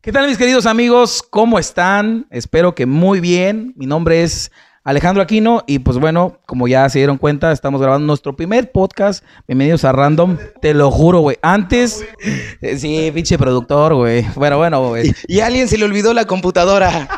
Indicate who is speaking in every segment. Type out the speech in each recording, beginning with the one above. Speaker 1: ¿Qué tal mis queridos amigos? ¿Cómo están? Espero que muy bien. Mi nombre es Alejandro Aquino y pues bueno, como ya se dieron cuenta, estamos grabando nuestro primer podcast. Bienvenidos a Random, te lo juro, güey. Antes, eh, sí, pinche productor, güey. Bueno, bueno, güey.
Speaker 2: Y a alguien se le olvidó la computadora.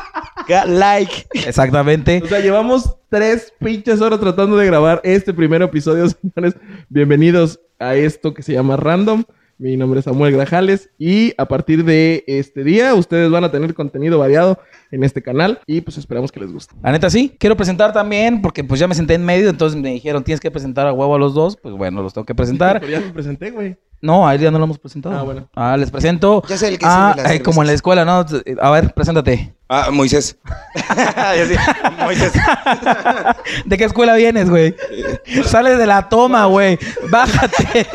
Speaker 2: Ga- like.
Speaker 1: Exactamente.
Speaker 3: O sea, llevamos tres pinches horas tratando de grabar este primer episodio, señores. Bienvenidos a esto que se llama Random. Mi nombre es Samuel Grajales y a partir de este día ustedes van a tener contenido variado en este canal y pues esperamos que les guste.
Speaker 1: La neta sí, quiero presentar también porque pues ya me senté en medio, entonces me dijeron, tienes que presentar a huevo a los dos, pues bueno, los tengo que presentar.
Speaker 3: Pero ya me presenté, güey.
Speaker 1: No, a él ya no lo hemos presentado.
Speaker 3: Ah, bueno.
Speaker 1: Ah, les presento.
Speaker 2: Ya sé el que
Speaker 1: ah,
Speaker 2: sirve las
Speaker 1: eh, como en la escuela, ¿no? A ver, preséntate.
Speaker 2: Ah, Moisés. Ya sí, Moisés.
Speaker 1: ¿De qué escuela vienes, güey? Sales de la toma, güey. Bájate.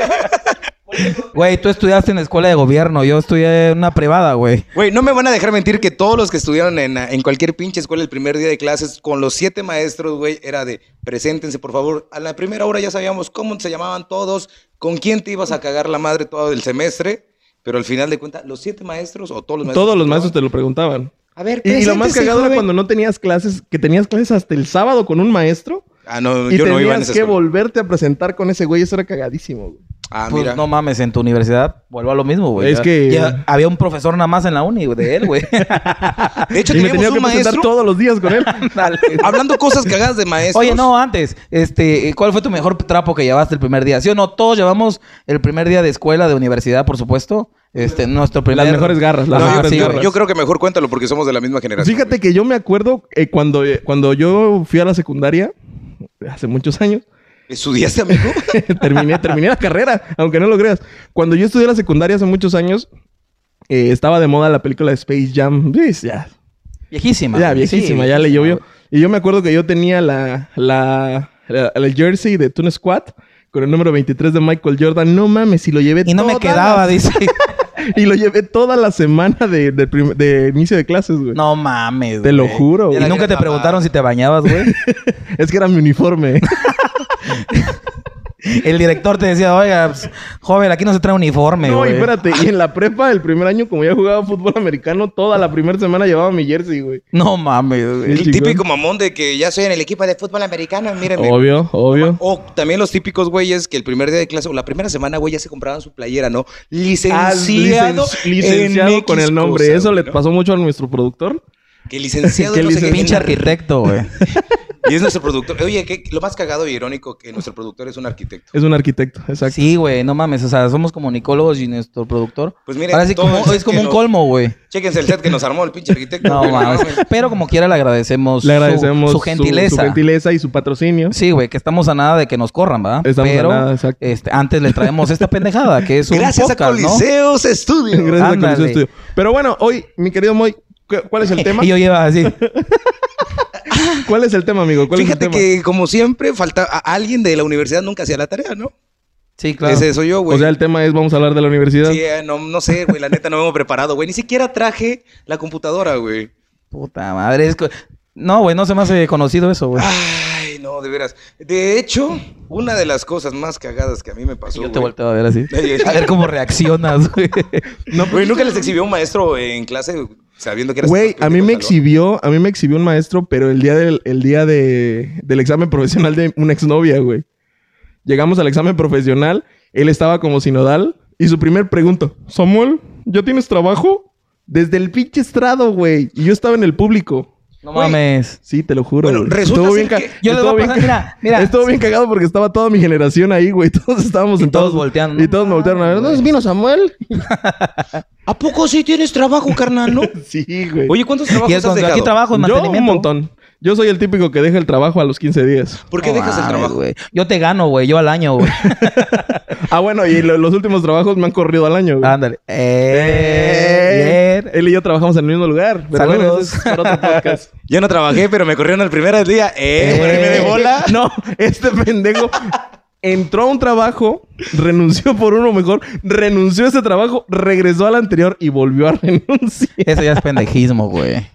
Speaker 1: Güey, tú estudiaste en la escuela de gobierno. Yo estudié en una privada, güey.
Speaker 2: Güey, no me van a dejar mentir que todos los que estudiaron en, en cualquier pinche escuela el primer día de clases con los siete maestros, güey, era de preséntense, por favor. A la primera hora ya sabíamos cómo se llamaban todos, con quién te ibas a cagar la madre todo el semestre, pero al final de cuentas, los siete maestros o todos los maestros.
Speaker 3: Todos los maestros te lo preguntaban.
Speaker 2: A ver,
Speaker 3: Y, y lo más
Speaker 2: preséntese,
Speaker 3: cagado era
Speaker 2: joven.
Speaker 3: cuando no tenías clases, que tenías clases hasta el sábado con un maestro
Speaker 2: Ah, no,
Speaker 3: y
Speaker 2: yo
Speaker 3: tenías
Speaker 2: no iba en esa
Speaker 3: que
Speaker 2: escuela.
Speaker 3: volverte a presentar con ese güey. Eso era cagadísimo, güey.
Speaker 2: Ah,
Speaker 1: Pues,
Speaker 2: mira.
Speaker 1: no mames, en tu universidad vuelvo a lo mismo, güey.
Speaker 3: Es
Speaker 1: Ya-
Speaker 3: que-
Speaker 1: ya había un profesor nada más en la uni güey, de él, güey.
Speaker 2: De hecho,
Speaker 3: y me tenía
Speaker 2: teníamos
Speaker 3: que
Speaker 2: un
Speaker 3: presentar
Speaker 2: maestro
Speaker 3: todos los días con él.
Speaker 1: Dale.
Speaker 2: hablando cosas cagadas de maestros.
Speaker 1: Oye, no, antes, este, ¿cuál fue tu mejor trapo que llevaste el primer día? Sí o no, todos llevamos el primer día de escuela, de universidad, por supuesto. Este, nuestro primer
Speaker 3: Las mejores garras, las
Speaker 1: Ajá,
Speaker 3: mejores
Speaker 1: sí,
Speaker 2: Yo-
Speaker 1: güey.
Speaker 3: garras.
Speaker 2: Yo creo que mejor cuéntalo porque somos de la misma generación.
Speaker 3: Fíjate que yo me acuerdo eh, cuando, eh, cuando yo fui a la secundaria, hace muchos años,
Speaker 2: güey. ¿Estudiaste, amigo?
Speaker 3: terminé, terminé la carrera, aunque no lo creas. Cuando yo estudié la secundaria hace muchos años, eh, estaba de moda la película de Space Jam. Sí, ya,
Speaker 1: Viejísima.
Speaker 3: ya
Speaker 1: güey,
Speaker 3: viejísima,
Speaker 1: sí,
Speaker 3: ya le llovió.
Speaker 1: güey.
Speaker 3: Y yo me acuerdo que yo tenía la, la, la- la jersey de Toon Squad con el número 23 de Michael Jordan. No mames, y lo llevé
Speaker 1: Y no me
Speaker 3: toda
Speaker 1: quedaba,
Speaker 3: la-
Speaker 1: dice.
Speaker 3: y lo llevé toda la semana de, de prim- de inicio de clases, güey.
Speaker 1: No mames,
Speaker 3: Te lo
Speaker 1: güey.
Speaker 3: juro,
Speaker 1: Y
Speaker 3: güey.
Speaker 1: nunca te preguntaron si te bañabas, güey.
Speaker 3: Es que era mi uniforme.
Speaker 1: El director te decía, oiga, pues, joven, aquí no se trae uniforme,
Speaker 3: No, y
Speaker 1: güey.
Speaker 3: espérate, y en la prepa, el primer año, como ya jugaba fútbol americano, toda la primera semana llevaba mi jersey, güey.
Speaker 1: No mames, güey.
Speaker 3: Sí.
Speaker 2: El
Speaker 3: chingón.
Speaker 2: típico mamón de que ya soy en el equipo de fútbol americano, mírenme.
Speaker 3: Obvio, obvio.
Speaker 2: O también los típicos güeyes que el primer día de clase o la primera semana, güey, ya se compraban su playera, ¿no? Licenciado.
Speaker 3: Ah, licen- licenciado
Speaker 2: en
Speaker 3: con
Speaker 2: X
Speaker 3: el nombre.
Speaker 2: cosa,
Speaker 3: Eso
Speaker 2: güey,
Speaker 3: le
Speaker 2: ¿no?
Speaker 3: pasó mucho a nuestro productor.
Speaker 2: Que licenciado.
Speaker 3: que
Speaker 2: no sé qué
Speaker 3: licen-
Speaker 1: Pinche
Speaker 2: mierda.
Speaker 1: arquitecto, güey.
Speaker 2: Y es nuestro productor. Oye, que lo más cagado y irónico que nuestro productor es un arquitecto.
Speaker 3: Es un arquitecto, exacto.
Speaker 1: Sí, güey, no mames. O sea, somos comunicólogos y nuestro productor.
Speaker 2: Pues miren,
Speaker 1: Ahora sí,
Speaker 2: todos
Speaker 1: como-
Speaker 2: dicen
Speaker 1: es como
Speaker 2: que
Speaker 1: un
Speaker 2: no.
Speaker 1: colmo, güey.
Speaker 2: Chéquense el set que nos armó el pinche arquitecto.
Speaker 1: No
Speaker 2: güey,
Speaker 1: mames. Pero como quiera le agradecemos,
Speaker 3: Le
Speaker 1: su-
Speaker 3: agradecemos
Speaker 1: su, gentileza.
Speaker 3: su gentileza y su patrocinio.
Speaker 1: Sí, güey, que estamos a nada de que nos corran, ¿verdad?
Speaker 3: Estamos a
Speaker 1: Pero
Speaker 3: nada, exacto.
Speaker 1: este, antes les traemos esta pendejada, que es un
Speaker 2: Gracias a
Speaker 1: podcast, ¿no?
Speaker 2: Coliseos Studio.
Speaker 3: Gracias a
Speaker 1: Ándale.
Speaker 3: Coliseo Estudio. Pero bueno, hoy, mi querido Moy, cu- ¿cuál es el tema?
Speaker 1: Y yo lleva así.
Speaker 3: ¿Cuál es el tema, amigo? ¿Cuál
Speaker 2: Fíjate
Speaker 3: es el tema?
Speaker 2: que, como siempre, falta a- alguien de la universidad nunca hacía la tarea, ¿no?
Speaker 1: Sí, claro.
Speaker 2: Ese soy yo, güey.
Speaker 3: O sea, el tema es, vamos a hablar de la universidad.
Speaker 2: Sí, eh, no, no sé, güey, la neta no me hemos preparado, güey. Ni siquiera traje la computadora, güey.
Speaker 1: Puta madre. es co- No, güey, no se me hace conocido eso, güey.
Speaker 2: Ah, Ay, no, de veras. De hecho, una de las cosas más cagadas que a mí me pasó.
Speaker 1: yo te
Speaker 2: güey.
Speaker 1: volteo a ver así.
Speaker 2: Ay,
Speaker 1: A ver cómo reaccionas, güey.
Speaker 2: No, güey, nunca les exhibió un maestro en clase sabiendo que eras.
Speaker 3: pues, Güey,
Speaker 2: más
Speaker 3: a mí me
Speaker 2: pendejo, tal,
Speaker 3: exhibió, a mí me exhibió un maestro, pero el día del, el día de, del examen profesional de una exnovia, güey. Llegamos al examen profesional, él estaba como sinodal y su primer pregunta, Samuel, ¿ya tienes trabajo? Desde el pinche estrado, güey. Y yo estaba en el público.
Speaker 1: No
Speaker 2: Güey.
Speaker 1: mames.
Speaker 3: Sí, te lo juro.
Speaker 2: Bueno,
Speaker 3: güey.
Speaker 2: resulta
Speaker 3: Estuvo
Speaker 2: ser
Speaker 3: bien ca-
Speaker 2: que-
Speaker 1: Yo les voy
Speaker 3: estuvo
Speaker 1: a
Speaker 3: bien
Speaker 1: pasar, mira,
Speaker 3: ca-
Speaker 1: mira.
Speaker 3: Estuvo bien cagado porque estaba toda mi generación ahí, güey. Todos estábamos
Speaker 1: Y
Speaker 3: sentados.
Speaker 1: todos volteando. Ah,
Speaker 3: Y todos me voltearon a ver. ¿Dónde vino Samuel?
Speaker 2: ¿no? ¿A poco sí tienes trabajo, carnal, no?
Speaker 3: sí, güey.
Speaker 2: Oye, ¿cuántos trabajos
Speaker 1: Y es
Speaker 2: has
Speaker 1: cuando
Speaker 2: dejado?
Speaker 1: aquí trabajo en
Speaker 3: yo
Speaker 1: mantenimiento.
Speaker 3: un montón. Yo soy el típico que deja el trabajo a los 15 días.
Speaker 2: ¿Por qué
Speaker 1: No
Speaker 2: dejas el
Speaker 1: mames,
Speaker 2: trabajo?
Speaker 1: güey? Yo te gano, güey. Yo al año, güey.
Speaker 3: Ah, bueno, y lo- los últimos trabajos me han corrido al año, güey.
Speaker 1: Ándale. Eh,
Speaker 3: Eh,
Speaker 1: bien.
Speaker 3: Él y yo trabajamos en el mismo lugar. Pero bueno,
Speaker 1: Saludos.
Speaker 3: eso es para otro podcast.
Speaker 2: Yo no trabajé, pero me corrieron el primer día. ¡Eh!
Speaker 1: Eh.
Speaker 2: güey, me de bola.
Speaker 3: No, este pendejo entró a un trabajo, renunció por uno mejor, renunció a ese trabajo, regresó al anterior y volvió a renunciar.
Speaker 1: Eso ya es pendejismo, güey.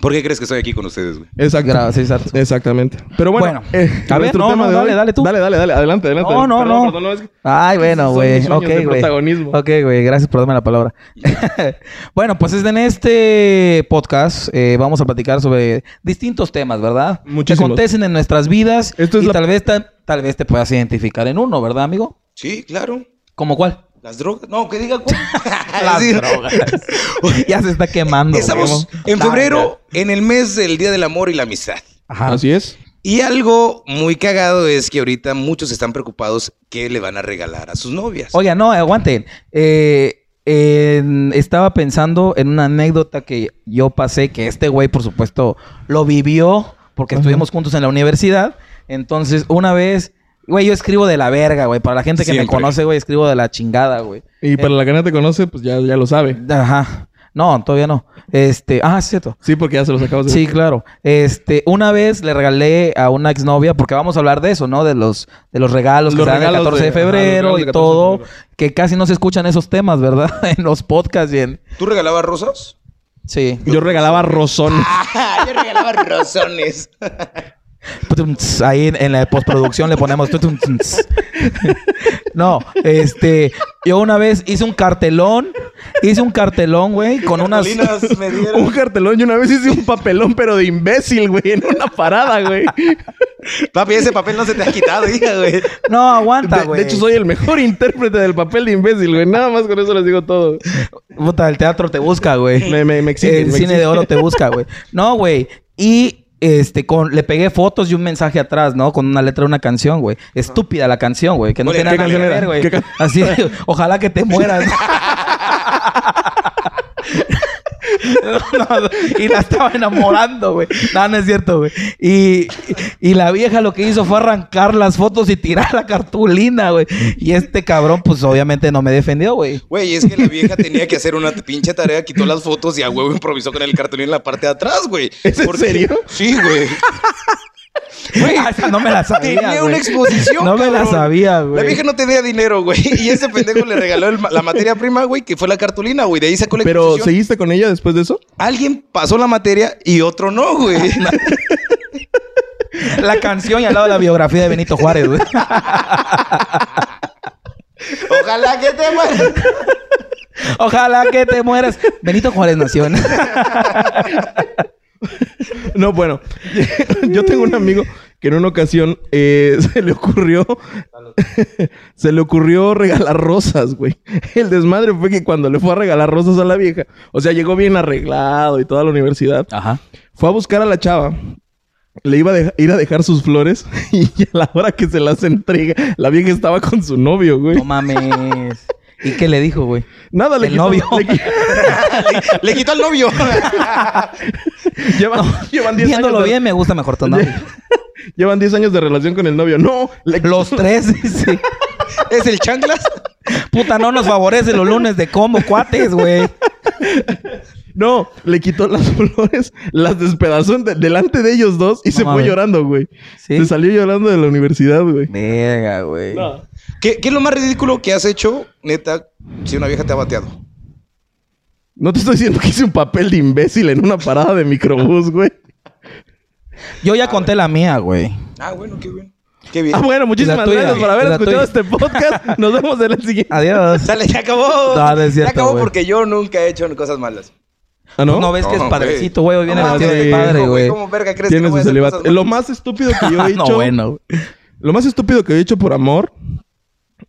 Speaker 2: ¿Por qué crees que estoy aquí con ustedes, güey?
Speaker 3: Exacto.
Speaker 1: Gracias, exacto.
Speaker 3: Exactamente. Pero
Speaker 1: Bueno.
Speaker 3: bueno, eh,
Speaker 1: A ver,
Speaker 3: nuestro
Speaker 1: no,
Speaker 3: tema
Speaker 1: no,
Speaker 3: de
Speaker 1: dale,
Speaker 3: hoy-
Speaker 1: dale tú.
Speaker 3: Dale, dale, dale, adelante, adelante.
Speaker 1: No, no,
Speaker 3: Perdón,
Speaker 1: no.
Speaker 3: perdón, es que-
Speaker 1: Ay, bueno,
Speaker 3: Son
Speaker 1: güey.
Speaker 3: mis sueños
Speaker 1: Ok,
Speaker 3: de
Speaker 1: güey.
Speaker 3: protagonismo.
Speaker 1: Ok, güey. Gracias por darme la palabra. bueno, pues en este podcast eh, vamos a platicar sobre distintos temas, ¿verdad? Que
Speaker 3: Muchísimos.
Speaker 1: acontecen en nuestras vidas.
Speaker 3: Esto es
Speaker 1: y
Speaker 3: la-
Speaker 1: tal, vez ta- tal vez te puedas identificar en uno, ¿verdad, amigo?
Speaker 2: Sí, claro.
Speaker 1: ¿Como cuál?
Speaker 2: Las drogas. No, que diga. cuál.
Speaker 1: Las
Speaker 2: Sí.
Speaker 1: drogas. ya se está quemando. güey.
Speaker 2: Estamos en febrero, en el mes del Día del Amor y la Amistad.
Speaker 1: Ajá.
Speaker 3: Así es.
Speaker 2: Y algo muy cagado es que ahorita muchos están preocupados qué le van a regalar a sus novias.
Speaker 1: Oiga, no, aguanten. Eh, en- estaba pensando en una anécdota que yo pasé, que este güey, por supuesto, lo vivió, porque
Speaker 3: Ajá.
Speaker 1: estuvimos juntos en la universidad. Entonces, una vez, güey, yo escribo de la verga, güey. Para la gente que me
Speaker 2: Siempre.
Speaker 1: conoce, güey, escribo de la chingada, güey.
Speaker 3: Y para la que no te conoce, pues ya, ya lo sabe.
Speaker 1: Ajá. No, todavía no. Este, ah, es cierto.
Speaker 3: Sí, porque ya se los acabas de
Speaker 1: Sí, claro. Este, una vez le regalé a una exnovia, porque vamos a hablar de eso, ¿no? De los, de los regalos que
Speaker 3: Los
Speaker 1: se dan el
Speaker 3: regalos
Speaker 1: 14 de,
Speaker 3: de- ajá, los
Speaker 1: febrero
Speaker 3: regalos
Speaker 1: y
Speaker 3: del 14 de
Speaker 1: todo,
Speaker 3: febrero.
Speaker 1: que casi no se escuchan esos temas, ¿verdad? en los podcasts y en...
Speaker 2: ¿Tú regalabas rosas?
Speaker 1: Sí.
Speaker 3: Yo regalaba rozones.
Speaker 2: Yo regalaba rosones.
Speaker 1: Putumts, Pues, Ahí en, en la postproducción le ponemos... tutumts. no, este... Yo una vez hice un cartelón, hice un cartelón, güey, con unas...
Speaker 2: Cartulinas me
Speaker 3: Un
Speaker 2: dieron.
Speaker 3: cartelón. Yo una vez hice un papelón, pero de imbécil, güey. En una parada, güey.
Speaker 1: Ah,
Speaker 2: Papi, ese papel no se te ha quitado, hija, güey.
Speaker 1: No, aguanta,
Speaker 3: De,
Speaker 1: güey.
Speaker 3: de hecho, soy el mejor intérprete del papel de imbécil, güey. Nada más con eso les digo todo.
Speaker 1: Puta, el teatro te busca, güey.
Speaker 3: Me, me, me exigen,
Speaker 1: el
Speaker 3: me
Speaker 1: cine de
Speaker 3: exigen.
Speaker 1: oro te busca, güey. No, güey. Y este, con, le pegué fotos y un mensaje atrás, ¿no? Con una letra de una canción, güey. Estúpida la canción, güey. Que no
Speaker 2: Oye,
Speaker 1: tiene
Speaker 2: ¿qué
Speaker 1: nada que
Speaker 3: canción era?
Speaker 1: ver, güey.
Speaker 3: ¿Qué can-
Speaker 1: Así, ojalá que te mueras. No, no, y la estaba enamorando, güey. No, no es cierto, güey. Y, y la vieja lo que hizo fue arrancar las fotos y tirar la cartulina, güey. Y este cabrón, pues obviamente no me defendió, güey.
Speaker 2: Güey, es que la vieja tenía que hacer una pinche tarea, quitó las fotos y a huevo improvisó con el cartulín en la parte de atrás, güey.
Speaker 3: ¿Es en serio?
Speaker 2: Sí, güey.
Speaker 1: Güey, Ah, esa no me la sabía.
Speaker 2: Tenía
Speaker 1: güey.
Speaker 2: una exposición.
Speaker 1: No me la
Speaker 2: cabrón.
Speaker 1: sabía, güey.
Speaker 2: La vieja no tenía dinero, güey. Y ese pendejo le regaló el ma- la materia prima, güey, que fue la cartulina, güey. De ahí sacó la
Speaker 3: Pero,
Speaker 2: exposición.
Speaker 3: ¿seguiste con ella después de eso?
Speaker 2: Alguien pasó la materia y otro no, güey.
Speaker 1: La canción y al lado de la biografía de Benito Juárez, güey.
Speaker 2: Ojalá que te mueras.
Speaker 1: Ojalá que te mueras. Benito Juárez nació en...
Speaker 3: No, bueno. Yo tengo un amigo que en una ocasión eh, se le ocurrió... se le ocurrió regalar rosas, güey. El desmadre fue que cuando le fue a regalar rosas a la vieja... O sea, llegó bien arreglado y toda la universidad.
Speaker 1: Ajá.
Speaker 3: Fue a buscar a la chava. Le iba a deja- ir a dejar sus flores y a la hora que se las entrega, la vieja estaba con su novio, güey.
Speaker 1: No mames. ¿Y qué le dijo, güey?
Speaker 3: Nada, le
Speaker 1: el
Speaker 3: quitó-
Speaker 1: novio.
Speaker 3: le qui-
Speaker 2: Le quitó al novio.
Speaker 3: llevan, llevan 10 años.
Speaker 1: Viéndolo
Speaker 3: de-
Speaker 1: bien, me gusta mejor tu nombre.
Speaker 3: Llevan 10 años de relación con el novio. No, le quitó-
Speaker 1: Los tres, sí.
Speaker 2: Es el chanclas.
Speaker 1: Puta, no nos favorece los lunes de combo, cuates, güey.
Speaker 3: no, le quitó las flores, las despedazó en- delante de ellos dos y
Speaker 1: No
Speaker 3: se fue
Speaker 1: mames.
Speaker 3: llorando, güey.
Speaker 1: ¿Sí?
Speaker 3: Se salió llorando de la universidad, güey.
Speaker 1: Verga, güey.
Speaker 3: No.
Speaker 2: ¿Qué, ¿Qué es lo más ridículo que has hecho, neta, si una vieja te ha bateado?
Speaker 3: No te estoy diciendo que hice un papel de imbécil en una parada de microbús, güey.
Speaker 1: Yo ya conté la mía, güey.
Speaker 2: Ah, bueno, qué bien. Qué bien.
Speaker 3: Ah, bueno, muchísimas
Speaker 1: tuya.
Speaker 3: gracias por haber
Speaker 1: La tuya.
Speaker 3: escuchado este podcast. Nos vemos en el siguiente.
Speaker 1: Adiós.
Speaker 2: Dale, ya acabó.
Speaker 1: Ah, No, no es
Speaker 2: ya
Speaker 1: cierto,
Speaker 2: acabó
Speaker 1: güey.
Speaker 2: porque yo nunca he hecho cosas malas. Ah,
Speaker 3: ¿Ah, no? Ah,
Speaker 1: ¿No? ves que
Speaker 2: No,
Speaker 1: es
Speaker 2: güey.
Speaker 1: padrecito, güey. Hoy viene
Speaker 2: No,
Speaker 1: vestido de
Speaker 3: güey.
Speaker 1: padre,
Speaker 2: No,
Speaker 1: güey.
Speaker 2: ¿Cómo verga crees que
Speaker 3: Tiene
Speaker 2: no voy a
Speaker 3: su
Speaker 2: hacer
Speaker 3: celibato.
Speaker 2: cosas
Speaker 3: Lo
Speaker 2: malas?
Speaker 3: más estúpido que yo he hecho.
Speaker 1: No, bueno.
Speaker 3: Lo más estúpido que he hecho por amor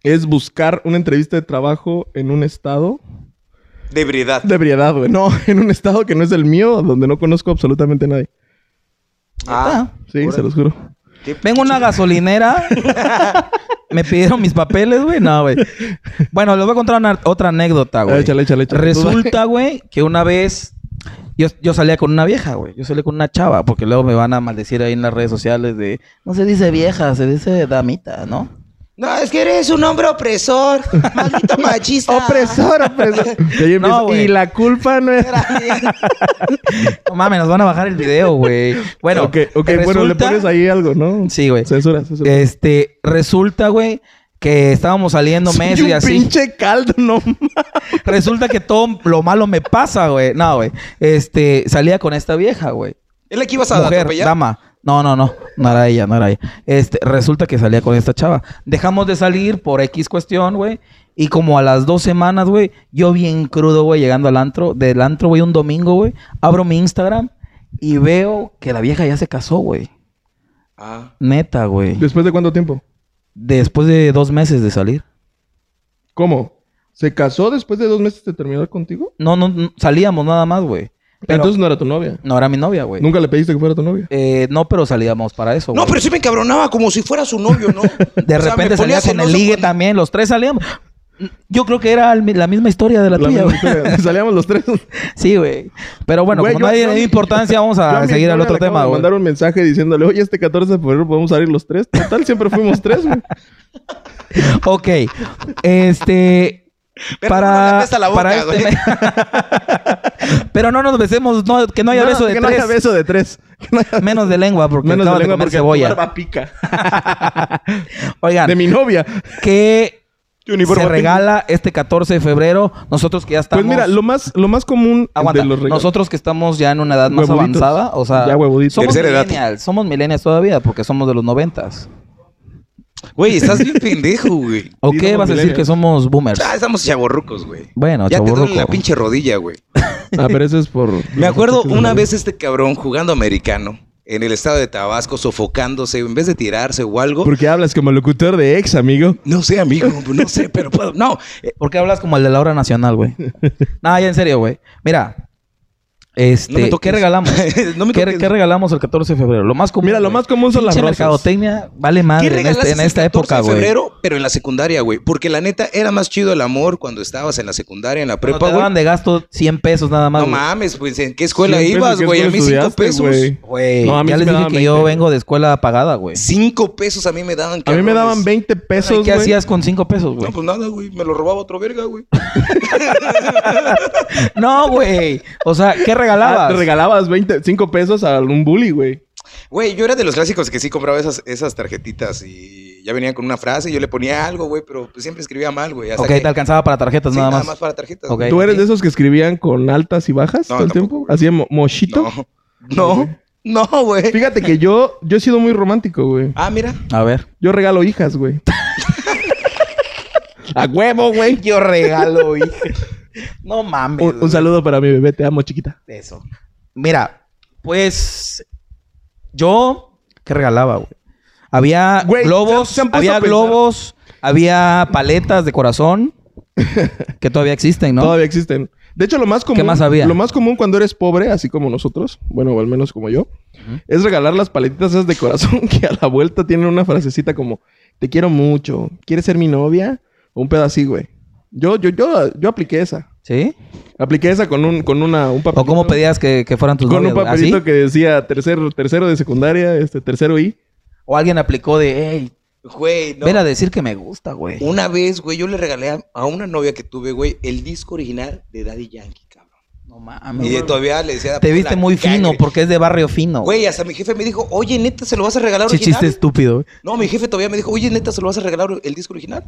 Speaker 3: es buscar una entrevista de trabajo en un estado
Speaker 2: De ebriedad.
Speaker 3: de ebriedad, güey. No, en un estado que no es el mío, donde no conozco absolutamente a nadie.
Speaker 2: Ah,
Speaker 3: Sí,
Speaker 2: Órale.
Speaker 3: se los juro.
Speaker 2: qué
Speaker 1: Vengo a una gasolinera. Me pidieron mis papeles, güey. No, güey. Bueno, les voy a contar una- otra anécdota, güey.
Speaker 3: Échale, échale, échale.
Speaker 1: Resulta, güey, que una vez yo, yo salía con una vieja, güey. Yo salí con una chava, porque luego me van a maldecir ahí en las redes sociales de no se dice vieja, se dice damita, ¿no?
Speaker 2: No, es que eres un hombre opresor. Maldito machista.
Speaker 3: Opresor,
Speaker 1: Ah.
Speaker 3: opresor. Y, ahí empieza,
Speaker 1: güey.
Speaker 3: y la culpa no es...
Speaker 1: No mames, nos van a bajar el video, güey. Bueno,
Speaker 3: ok, ok, bueno, le
Speaker 1: resulta-
Speaker 3: pones ahí algo, ¿no?
Speaker 1: Sí, güey. Eh,
Speaker 3: Censura, censura.
Speaker 1: Este, resulta, güey, que estábamos saliendo meses
Speaker 3: Soy
Speaker 1: y
Speaker 3: un
Speaker 1: así.
Speaker 3: pinche caldo, no mames.
Speaker 1: Resulta que todo lo malo me pasa, güey. No, güey. Este, salía con esta vieja, güey.
Speaker 2: ¿Es la que ibas a
Speaker 1: Mujer,
Speaker 2: atropellar?
Speaker 1: dama. No, no, no. No era ella, no era ella. Este, resulta que salía con esta chava. Dejamos de salir por X cuestión, güey. Y como a las dos semanas, güey, yo bien crudo, güey, llegando al antro, del antro, güey, un domingo, güey, abro mi Instagram y veo que la vieja ya se casó, güey.
Speaker 2: Ah,
Speaker 1: Neta, güey.
Speaker 3: ¿Después de cuánto tiempo?
Speaker 1: Después de dos meses de salir.
Speaker 3: ¿Cómo? ¿Se casó después de dos meses de terminar contigo?
Speaker 1: No, no, no, salíamos nada más, güey. Pero
Speaker 3: Entonces no era tu novia.
Speaker 1: no era mi novia, güey.
Speaker 3: Nunca le pediste que fuera tu novia.
Speaker 1: Eh, no, pero salíamos para eso,
Speaker 2: No,
Speaker 1: güey.
Speaker 2: pero sí me encabronaba como si fuera su novio, ¿no?
Speaker 1: De repente salía con el ligue también, los tres salíamos. Yo creo que era el mi- la misma historia de la,
Speaker 3: La
Speaker 1: tuya,
Speaker 3: misma
Speaker 1: güey.
Speaker 3: historia. Salíamos los tres.
Speaker 1: Sí, güey. Pero bueno,
Speaker 3: Güey,
Speaker 1: como
Speaker 3: yo-
Speaker 1: nadie
Speaker 3: yo-
Speaker 1: le dio importancia, vamos
Speaker 3: Yo a
Speaker 1: a
Speaker 3: mi
Speaker 1: seguir al
Speaker 3: novia
Speaker 1: otro
Speaker 3: le acabo
Speaker 1: tema,
Speaker 3: de
Speaker 1: güey.
Speaker 3: mandar un mensaje diciéndole, oye, este 14 de febrero podemos salir los tres. Total, siempre fuimos tres, güey.
Speaker 1: Ok. Este. para. para este me- Pero no nos besemos, no, que no haya beso de
Speaker 3: que
Speaker 1: tres.
Speaker 3: no haya beso de tres. Que no haya-
Speaker 1: Menos de lengua, porque
Speaker 3: Menos
Speaker 1: acaba
Speaker 3: de lengua
Speaker 1: de comer
Speaker 3: porque tu
Speaker 1: cebolla.
Speaker 3: barba pica.
Speaker 1: Oigan,
Speaker 3: De mi novia.
Speaker 1: ¿qué
Speaker 3: Tu
Speaker 1: se
Speaker 3: uniforme
Speaker 1: regala este 14 de febrero? Nosotros que ya estamos.
Speaker 3: Pues mira, lo más, lo más común
Speaker 1: Aguanta,
Speaker 3: de los regalos.
Speaker 1: nosotros que estamos ya en una edad más
Speaker 3: Huevuditos.
Speaker 1: avanzada, o sea,
Speaker 3: Ya huevuditos.
Speaker 1: somos
Speaker 2: Tercera edad.
Speaker 1: millennials, somos millennials todavía porque somos de los noventas.
Speaker 2: Güey, estás bien pendejo, güey.
Speaker 1: ¿O
Speaker 3: Sí,
Speaker 1: qué
Speaker 3: somos
Speaker 1: vas a decir
Speaker 3: millennials.
Speaker 1: que somos boomers?
Speaker 2: Ah, estamos chaborrucos, güey.
Speaker 1: Bueno,
Speaker 2: Ya te duele
Speaker 1: chavorruco.
Speaker 2: la pinche rodilla, güey.
Speaker 3: Ah, pero eso es por...
Speaker 2: Me acuerdo una vez este cabrón jugando americano en el estado de Tabasco, sofocándose, en vez de tirarse o algo.
Speaker 3: Porque hablas como locutor de ex, amigo.
Speaker 2: No sé, amigo, no sé, pero puedo. No, eh,
Speaker 1: ¿Por qué hablas como el de la hora nacional, güey? no, ya en serio, güey. Mira, este,
Speaker 2: No me toques.
Speaker 1: ¿qué regalamos?
Speaker 2: No me
Speaker 1: ¿Qué,
Speaker 2: toques.
Speaker 1: qué regalamos el 14 de febrero? Lo más común.
Speaker 3: Mira, lo
Speaker 1: güey.
Speaker 3: más común son las
Speaker 1: Pinche
Speaker 3: rosas.
Speaker 1: mercadotecnia vale madre
Speaker 2: ¿Qué
Speaker 1: en,
Speaker 2: regalaste
Speaker 1: este- en
Speaker 2: el
Speaker 1: esta
Speaker 2: 14
Speaker 1: época,
Speaker 2: de
Speaker 1: güey.
Speaker 2: febrero, pero en la secundaria, güey? Porque la neta era más chido el amor cuando estabas en la secundaria, en la
Speaker 1: Cuando
Speaker 2: prepa,
Speaker 1: te daban de
Speaker 2: güey.
Speaker 1: gasto 100 pesos nada más.
Speaker 2: No
Speaker 1: güey.
Speaker 2: mames, pues, ¿en qué escuela
Speaker 3: Cien pesos,
Speaker 2: ibas,
Speaker 3: ¿qué
Speaker 2: güey? A mí
Speaker 3: escuela
Speaker 2: cinco
Speaker 3: estudiaste,
Speaker 2: pesos.
Speaker 3: güey?
Speaker 1: Güey,
Speaker 3: No, a mí
Speaker 1: ya
Speaker 3: sí
Speaker 1: les
Speaker 3: me
Speaker 1: dije
Speaker 3: daban
Speaker 1: que yo
Speaker 3: 20.
Speaker 1: vengo de escuela pagada, güey.
Speaker 2: Cinco pesos a mí me daban,
Speaker 3: A mí me
Speaker 2: cabrones.
Speaker 3: daban 20 pesos,
Speaker 1: ¿Y ¿Qué
Speaker 3: güey.
Speaker 1: hacías con 5 pesos, güey?
Speaker 2: No, pues nada, güey. Me lo robaba otro verga, güey.
Speaker 1: No, güey. O sea, ¿qué
Speaker 3: Ah,
Speaker 1: regalabas?
Speaker 3: te regalabas 20, 5 pesos a algún bully, güey.
Speaker 2: Güey, yo era de los clásicos que sí compraba esas, esas tarjetitas y ya venían con una frase y yo le ponía algo, güey, pero pues, siempre escribía mal, güey. hasta
Speaker 1: ok,
Speaker 2: que-
Speaker 1: te alcanzaba para tarjetas
Speaker 2: Sí,
Speaker 1: nada, más.
Speaker 2: para tarjetas.
Speaker 1: Ok.
Speaker 2: güey.
Speaker 3: ¿Tú eres de esos que escribían con altas y bajas
Speaker 2: No,
Speaker 3: todo
Speaker 2: tampoco,
Speaker 3: el tiempo?
Speaker 2: güey.
Speaker 3: ¿Hacían mo- mochito?
Speaker 2: No, no, no, güey.
Speaker 3: Fíjate que yo, yo he sido muy romántico, güey.
Speaker 2: Ah, mira.
Speaker 1: A ver.
Speaker 3: Yo regalo hijas, güey. a huevo, güey.
Speaker 1: Yo regalo, hijo. No mames.
Speaker 3: Un, un saludo para mi bebé, te amo, chiquita.
Speaker 1: Eso. Mira, pues yo ¿qué regalaba, güey? Había
Speaker 3: Güey,
Speaker 1: globos,
Speaker 3: se- se han puesto a
Speaker 1: había
Speaker 3: pensar.
Speaker 1: globos, había paletas de corazón que todavía existen, ¿no?
Speaker 3: Todavía existen. De hecho, lo más común,
Speaker 1: más había?
Speaker 3: lo más común cuando eres pobre, así como nosotros, bueno, o al menos como yo, es regalar las paletitas esas de corazón que a la vuelta tienen una frasecita como te quiero mucho, ¿quieres ser mi novia? O un pedo así, güey. Yo, yo, yo, yo apliqué esa.
Speaker 1: ¿Sí?
Speaker 3: Apliqué esa con un, con una, un papelito.
Speaker 1: ¿O cómo pedías que, que fueran tus
Speaker 3: Con
Speaker 1: novias,
Speaker 3: un
Speaker 1: güey? ¿Ah,
Speaker 3: papelito
Speaker 1: ¿Así?
Speaker 3: que decía tercero, tercero de secundaria, este, tercero I.
Speaker 1: O alguien aplicó de, hey,
Speaker 2: Güey, no.
Speaker 1: ven a decir que me gusta, güey.
Speaker 2: Una vez, güey, yo le regalé a, a una novia que tuve, güey, el disco original de Daddy Yankee, cabrón.
Speaker 1: No
Speaker 2: Y
Speaker 1: mames.
Speaker 2: de- todavía le decía...
Speaker 1: Te viste
Speaker 2: la
Speaker 1: muy fino
Speaker 2: cangre.
Speaker 1: porque es de barrio fino.
Speaker 2: Güey, hasta mi jefe me dijo, oye, neta, ¿se lo vas a regalar
Speaker 1: Chi-
Speaker 2: original?
Speaker 1: chiste estúpido. güey.
Speaker 2: No, mi jefe todavía me dijo, oye, neta, ¿se lo vas a regalar el disco original?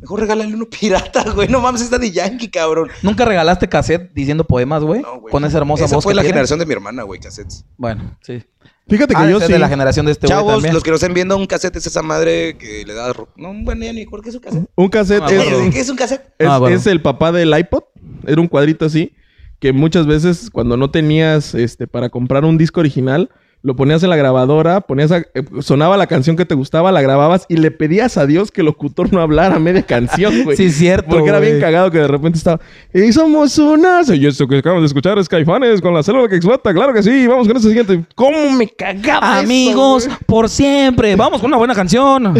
Speaker 2: Mejor regálale uno pirata, güey. No mames, es Daddy Yankee, cabrón.
Speaker 1: ¿Nunca regalaste cassette diciendo poemas, güey?
Speaker 2: No, güey.
Speaker 1: Con esa hermosa
Speaker 2: Esa
Speaker 1: voz
Speaker 2: fue
Speaker 1: que
Speaker 2: la
Speaker 1: tiene.
Speaker 2: generación de mi hermana, güey, cassettes.
Speaker 1: Bueno, sí.
Speaker 3: Fíjate que
Speaker 1: Ah,
Speaker 3: yo
Speaker 1: ese es
Speaker 3: sí.
Speaker 1: de la generación de este güey
Speaker 2: Chavos,
Speaker 1: también.
Speaker 2: los que nos estén viendo, un cassette es esa madre que le da... ro- No, bueno, ya ni ¿por qué es un cassette?
Speaker 3: Un cassette
Speaker 1: Ah,
Speaker 3: es,
Speaker 1: bueno.
Speaker 2: ¿Qué es un cassette?
Speaker 3: es-
Speaker 1: Ah, bueno.
Speaker 3: es el papá del iPod. Era un cuadrito así que muchas veces cuando no tenías este para comprar un disco original, lo ponías en la grabadora, ponías a- eh, sonaba la canción que te gustaba, la grababas y le pedías a Dios que el locutor no hablara a media canción, güey.
Speaker 1: Sí, es cierto,
Speaker 3: Porque era bien
Speaker 1: güey.
Speaker 3: cagado que de repente estaba, y somos unas, y esto que acabamos de escuchar es Caifanes con la célula que explota, claro que sí, vamos con este siguiente. ¿Cómo me cagaba eso,
Speaker 1: Amigos,
Speaker 3: güey?
Speaker 1: por siempre. Vamos con una buena canción.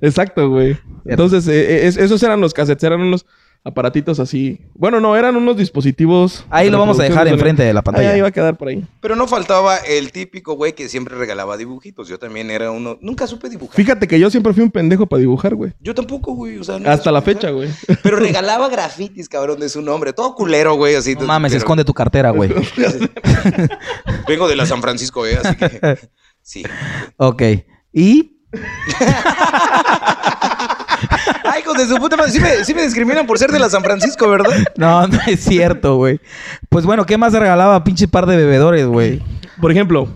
Speaker 3: Exacto, güey. Entonces, eh, eh, es- esos eran los cassettes, eran unos aparatitos así. Bueno, no, eran unos dispositivos.
Speaker 1: Ahí lo vamos a dejar
Speaker 3: reproducción
Speaker 1: enfrente de la pantalla.
Speaker 3: Ahí, ahí va a quedar por ahí.
Speaker 2: Pero no faltaba el típico güey que siempre regalaba dibujitos. Yo también era uno. Nunca supe dibujar.
Speaker 3: Fíjate que yo siempre fui un pendejo para dibujar, güey.
Speaker 2: Yo tampoco, güey. O sea, nunca
Speaker 3: Hasta
Speaker 2: supe
Speaker 3: la
Speaker 2: dibujar.
Speaker 3: fecha, güey.
Speaker 2: Pero regalaba grafitis, cabrón, de su nombre. Todo culero, güey. Así.
Speaker 1: No
Speaker 2: todo
Speaker 1: mames,
Speaker 2: culero.
Speaker 1: esconde tu cartera, güey.
Speaker 2: Vengo de la San Francisco, eh. Así que. Sí.
Speaker 1: Ok. ¿Y?
Speaker 2: Ay, hijos de su puta madre. Sí me, sí me discriminan por ser de la San Francisco, ¿verdad?
Speaker 1: No, no es cierto, güey. Pues bueno, ¿qué más regalaba pinche par de bebedores, güey?
Speaker 3: Por ejemplo,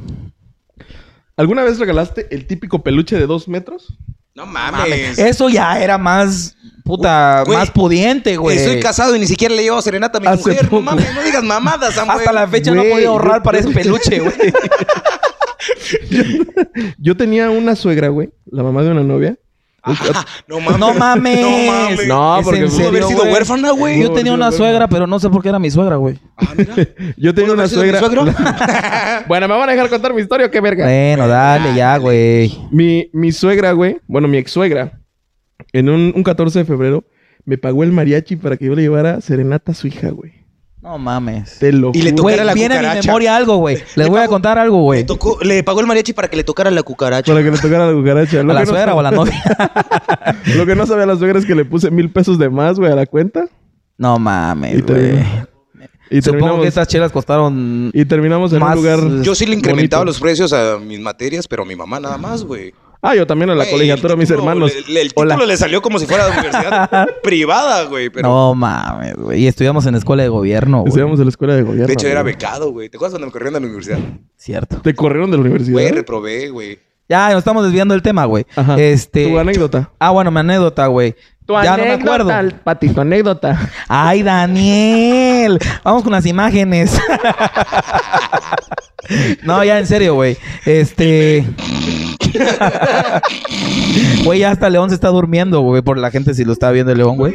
Speaker 3: ¿alguna vez regalaste el típico peluche de dos metros?
Speaker 2: No mames. Eh,
Speaker 1: Eso ya era más, puta,
Speaker 2: Güey,
Speaker 1: más pudiente, Eh, güey.
Speaker 2: Estoy casado y ni siquiera le llevo serenata a mi
Speaker 3: Hace
Speaker 2: mujer.
Speaker 3: poco.
Speaker 2: No mames, no digas mamadas, Samuel.
Speaker 1: Hasta la fecha no he
Speaker 3: Güey,
Speaker 1: podido
Speaker 3: yo-
Speaker 1: ahorrar para ese peluche, güey.
Speaker 3: Yo tenía una suegra, güey, la mamá de una novia.
Speaker 2: Ah, no mames.
Speaker 1: No mames.
Speaker 2: No mames.
Speaker 3: No,
Speaker 1: ¿Es
Speaker 3: porque
Speaker 1: en
Speaker 3: pudo
Speaker 2: haber
Speaker 1: serio,
Speaker 2: sido
Speaker 1: güey?
Speaker 2: huérfana, güey.
Speaker 1: Yo tenía una suegra, pero no sé por qué era mi suegra, güey.
Speaker 2: Ah, mira.
Speaker 3: Yo
Speaker 2: ¿Pudo
Speaker 3: tenía una
Speaker 2: haber sido mi
Speaker 3: suegra.
Speaker 2: suegro?
Speaker 3: Bueno, ¿me van a dejar contar mi historia o qué verga?
Speaker 1: Bueno, dale ya, güey.
Speaker 3: Mi, mi suegra, güey, bueno, mi ex suegra, en un, un 14 de febrero, me pagó el mariachi para que yo le llevara serenata a su hija, güey.
Speaker 1: No mames.
Speaker 3: Te lo
Speaker 2: Y le
Speaker 3: juro.
Speaker 2: tocara
Speaker 1: Güey,
Speaker 2: la
Speaker 1: viene a mi
Speaker 2: cucaracha.
Speaker 1: memoria algo, güey. Les
Speaker 2: Le
Speaker 1: voy a
Speaker 2: pago-
Speaker 1: contar algo,
Speaker 2: Le,
Speaker 1: güey.
Speaker 2: tocó- le pagó el mariachi para que le tocara la cucaracha.
Speaker 3: Para que le tocara la cucaracha.
Speaker 1: A
Speaker 3: Lo
Speaker 1: la
Speaker 3: que no
Speaker 1: suegra o a la novia.
Speaker 3: Lo que no sabía la suegra es que le puse mil pesos de más, güey, a la cuenta.
Speaker 1: No
Speaker 3: Y
Speaker 1: mames, güey.
Speaker 3: terminamos- Y
Speaker 1: Supongo
Speaker 3: terminamos,
Speaker 1: que estas chelas costaron.
Speaker 3: y terminamos en
Speaker 1: más,
Speaker 3: un lugar...
Speaker 1: eh,
Speaker 2: Yo sí le incrementaba
Speaker 3: Bonito.
Speaker 2: los precios a mis materias, pero a mi mamá nada más, güey.
Speaker 3: Ah, yo también en la
Speaker 2: Güey,
Speaker 3: colegiatura a
Speaker 2: el
Speaker 3: mis
Speaker 2: título-
Speaker 3: hermanos.
Speaker 2: le- le- el título
Speaker 3: Hola.
Speaker 2: le salió como si fuera de universidad privada, güey. Pero
Speaker 1: No mames, güey. Y estudiamos en escuela de gobierno, güey.
Speaker 3: Estudiamos en la escuela de gobierno.
Speaker 2: de hecho era
Speaker 3: güey.
Speaker 2: becado, güey. ¿Te acuerdas cuando me corrieron de la universidad?
Speaker 1: Cierto.
Speaker 3: Te corrieron de la
Speaker 2: Güey,
Speaker 3: universidad.
Speaker 2: reprobé, güey.
Speaker 1: Ya, nos estamos desviando del tema, güey.
Speaker 3: Ajá.
Speaker 1: Este.
Speaker 3: Tu anécdota.
Speaker 1: Ah, bueno, mi anécdota, güey. ya no me acuerdo.
Speaker 3: Pati, tu anécdota.
Speaker 1: Ay, Daniel. Vamos con las imágenes. no, ya en serio, güey. Este. Güey, ya hasta León se está durmiendo, güey. Por la gente si lo está viendo el León, güey.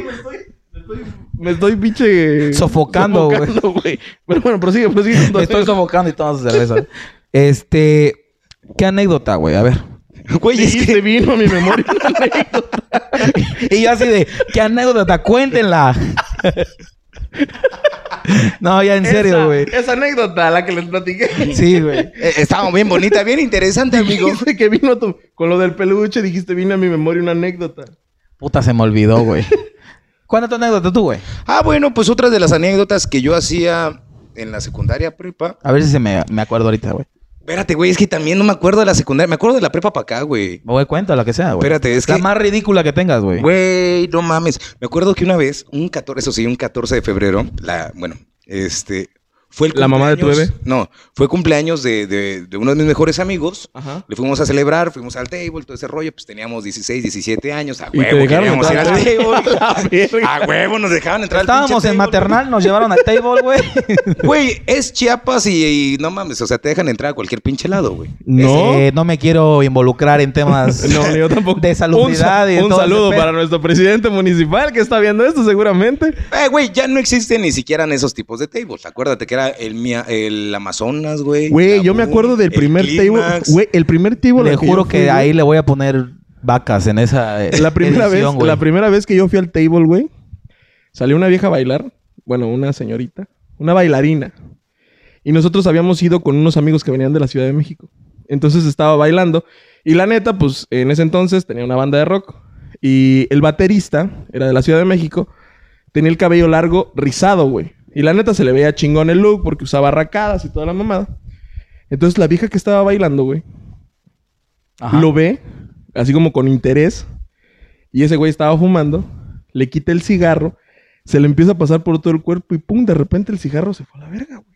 Speaker 3: Me estoy pinche...
Speaker 1: Sofocando, güey.
Speaker 3: sofocando, güey. Pero bueno, prosigue, prosigue. con tu
Speaker 1: Me estoy
Speaker 3: anécdota.
Speaker 1: sofocando y tomando cerveza. Este. ¿Qué anécdota, güey? A ver.
Speaker 2: Güey, es
Speaker 3: Y
Speaker 2: que
Speaker 3: se vino a mi memoria una anécdota.
Speaker 1: Y yo así de, ¿qué anécdota? Cuéntenla. no, ya en serio,
Speaker 3: Esa-
Speaker 1: güey.
Speaker 3: Esa anécdota, la que les platiqué.
Speaker 1: Sí, güey.
Speaker 2: eh, estaba bien bonita, bien interesante, amigo.
Speaker 3: Dijiste que vino tu... Con lo del peluche dijiste, vino a mi memoria una anécdota.
Speaker 1: Puta, se me olvidó, güey. ¿Cuál es tu anécdota tú, güey?
Speaker 2: Ah, bueno, pues otra de las anécdotas que yo hacía en la secundaria prepa.
Speaker 1: A ver si se me, me acuerdo ahorita, güey.
Speaker 2: Espérate, güey, es que también no me acuerdo de la secundaria. Me acuerdo de la prepa para acá, güey.
Speaker 1: O güey, cuenta la que sea, güey.
Speaker 2: Espérate, es
Speaker 1: La
Speaker 2: que-
Speaker 1: más ridícula que tengas, güey.
Speaker 2: Güey, no mames. Me acuerdo que una vez, un 14, eso sí, un 14 de febrero, la, bueno, este, fue el
Speaker 3: ¿La mamá de tu
Speaker 2: cumpleaños-
Speaker 3: bebé?
Speaker 2: No, fue cumpleaños de, de- de uno de mis mejores amigos.
Speaker 3: Ajá.
Speaker 2: Le fuimos a celebrar, fuimos al table, todo ese rollo, pues teníamos 16, 17 años, a
Speaker 3: ¿Y te
Speaker 2: huevo,
Speaker 3: dejaron
Speaker 2: queríamos ir al
Speaker 3: entrar?
Speaker 2: table.
Speaker 3: verga.
Speaker 2: a huevo, nos dejaban entrar al
Speaker 1: Estábamos
Speaker 2: pinche
Speaker 1: en
Speaker 2: table.
Speaker 1: maternal, nos llevaron al table, güey.
Speaker 2: Güey, es Chiapas y, y no mames, o sea, te dejan entrar a cualquier pinche lado, güey.
Speaker 3: No.
Speaker 1: Eh, no me quiero involucrar en temas
Speaker 3: No, yo tampoco.
Speaker 1: de salubridad
Speaker 3: Un,
Speaker 1: y
Speaker 3: sa- un
Speaker 1: todo ese
Speaker 3: saludo
Speaker 1: pedo.
Speaker 3: para nuestro presidente municipal que está viendo esto seguramente.
Speaker 2: Eh, güey, ya no existen ni siquiera en esos tipos de tables. Acuérdate que era el, mia- el Amazonas, güey.
Speaker 3: Güey,
Speaker 2: la
Speaker 3: yo me
Speaker 2: Boom,
Speaker 3: acuerdo
Speaker 2: el
Speaker 3: del primer table.
Speaker 2: Clímax.
Speaker 3: Güey, el primer table.
Speaker 1: Le
Speaker 3: al
Speaker 1: juro
Speaker 3: yo
Speaker 1: que
Speaker 3: fui, güey,
Speaker 1: ahí le voy a poner vacas en esa eh,
Speaker 3: La primera, vez,
Speaker 1: edición, güey.
Speaker 3: la primera vez que yo fui al table, güey, salió una vieja a bailar. Bueno, una señorita. Una bailarina. Y nosotros habíamos ido con unos amigos que venían de la Ciudad de México. Entonces estaba bailando. Y la neta, pues en ese entonces tenía una banda de rock. Y el baterista era de la Ciudad de México. Tenía el cabello largo, rizado, güey. Y la neta se le veía chingón el look porque usaba racadas y toda la mamada. Entonces la vieja que estaba bailando, güey,
Speaker 1: Ajá.
Speaker 3: lo ve, así como con interés. Y ese güey estaba fumando, le quita el cigarro, se le empieza a pasar por todo el cuerpo y pum, de repente el cigarro se fue a la verga, güey.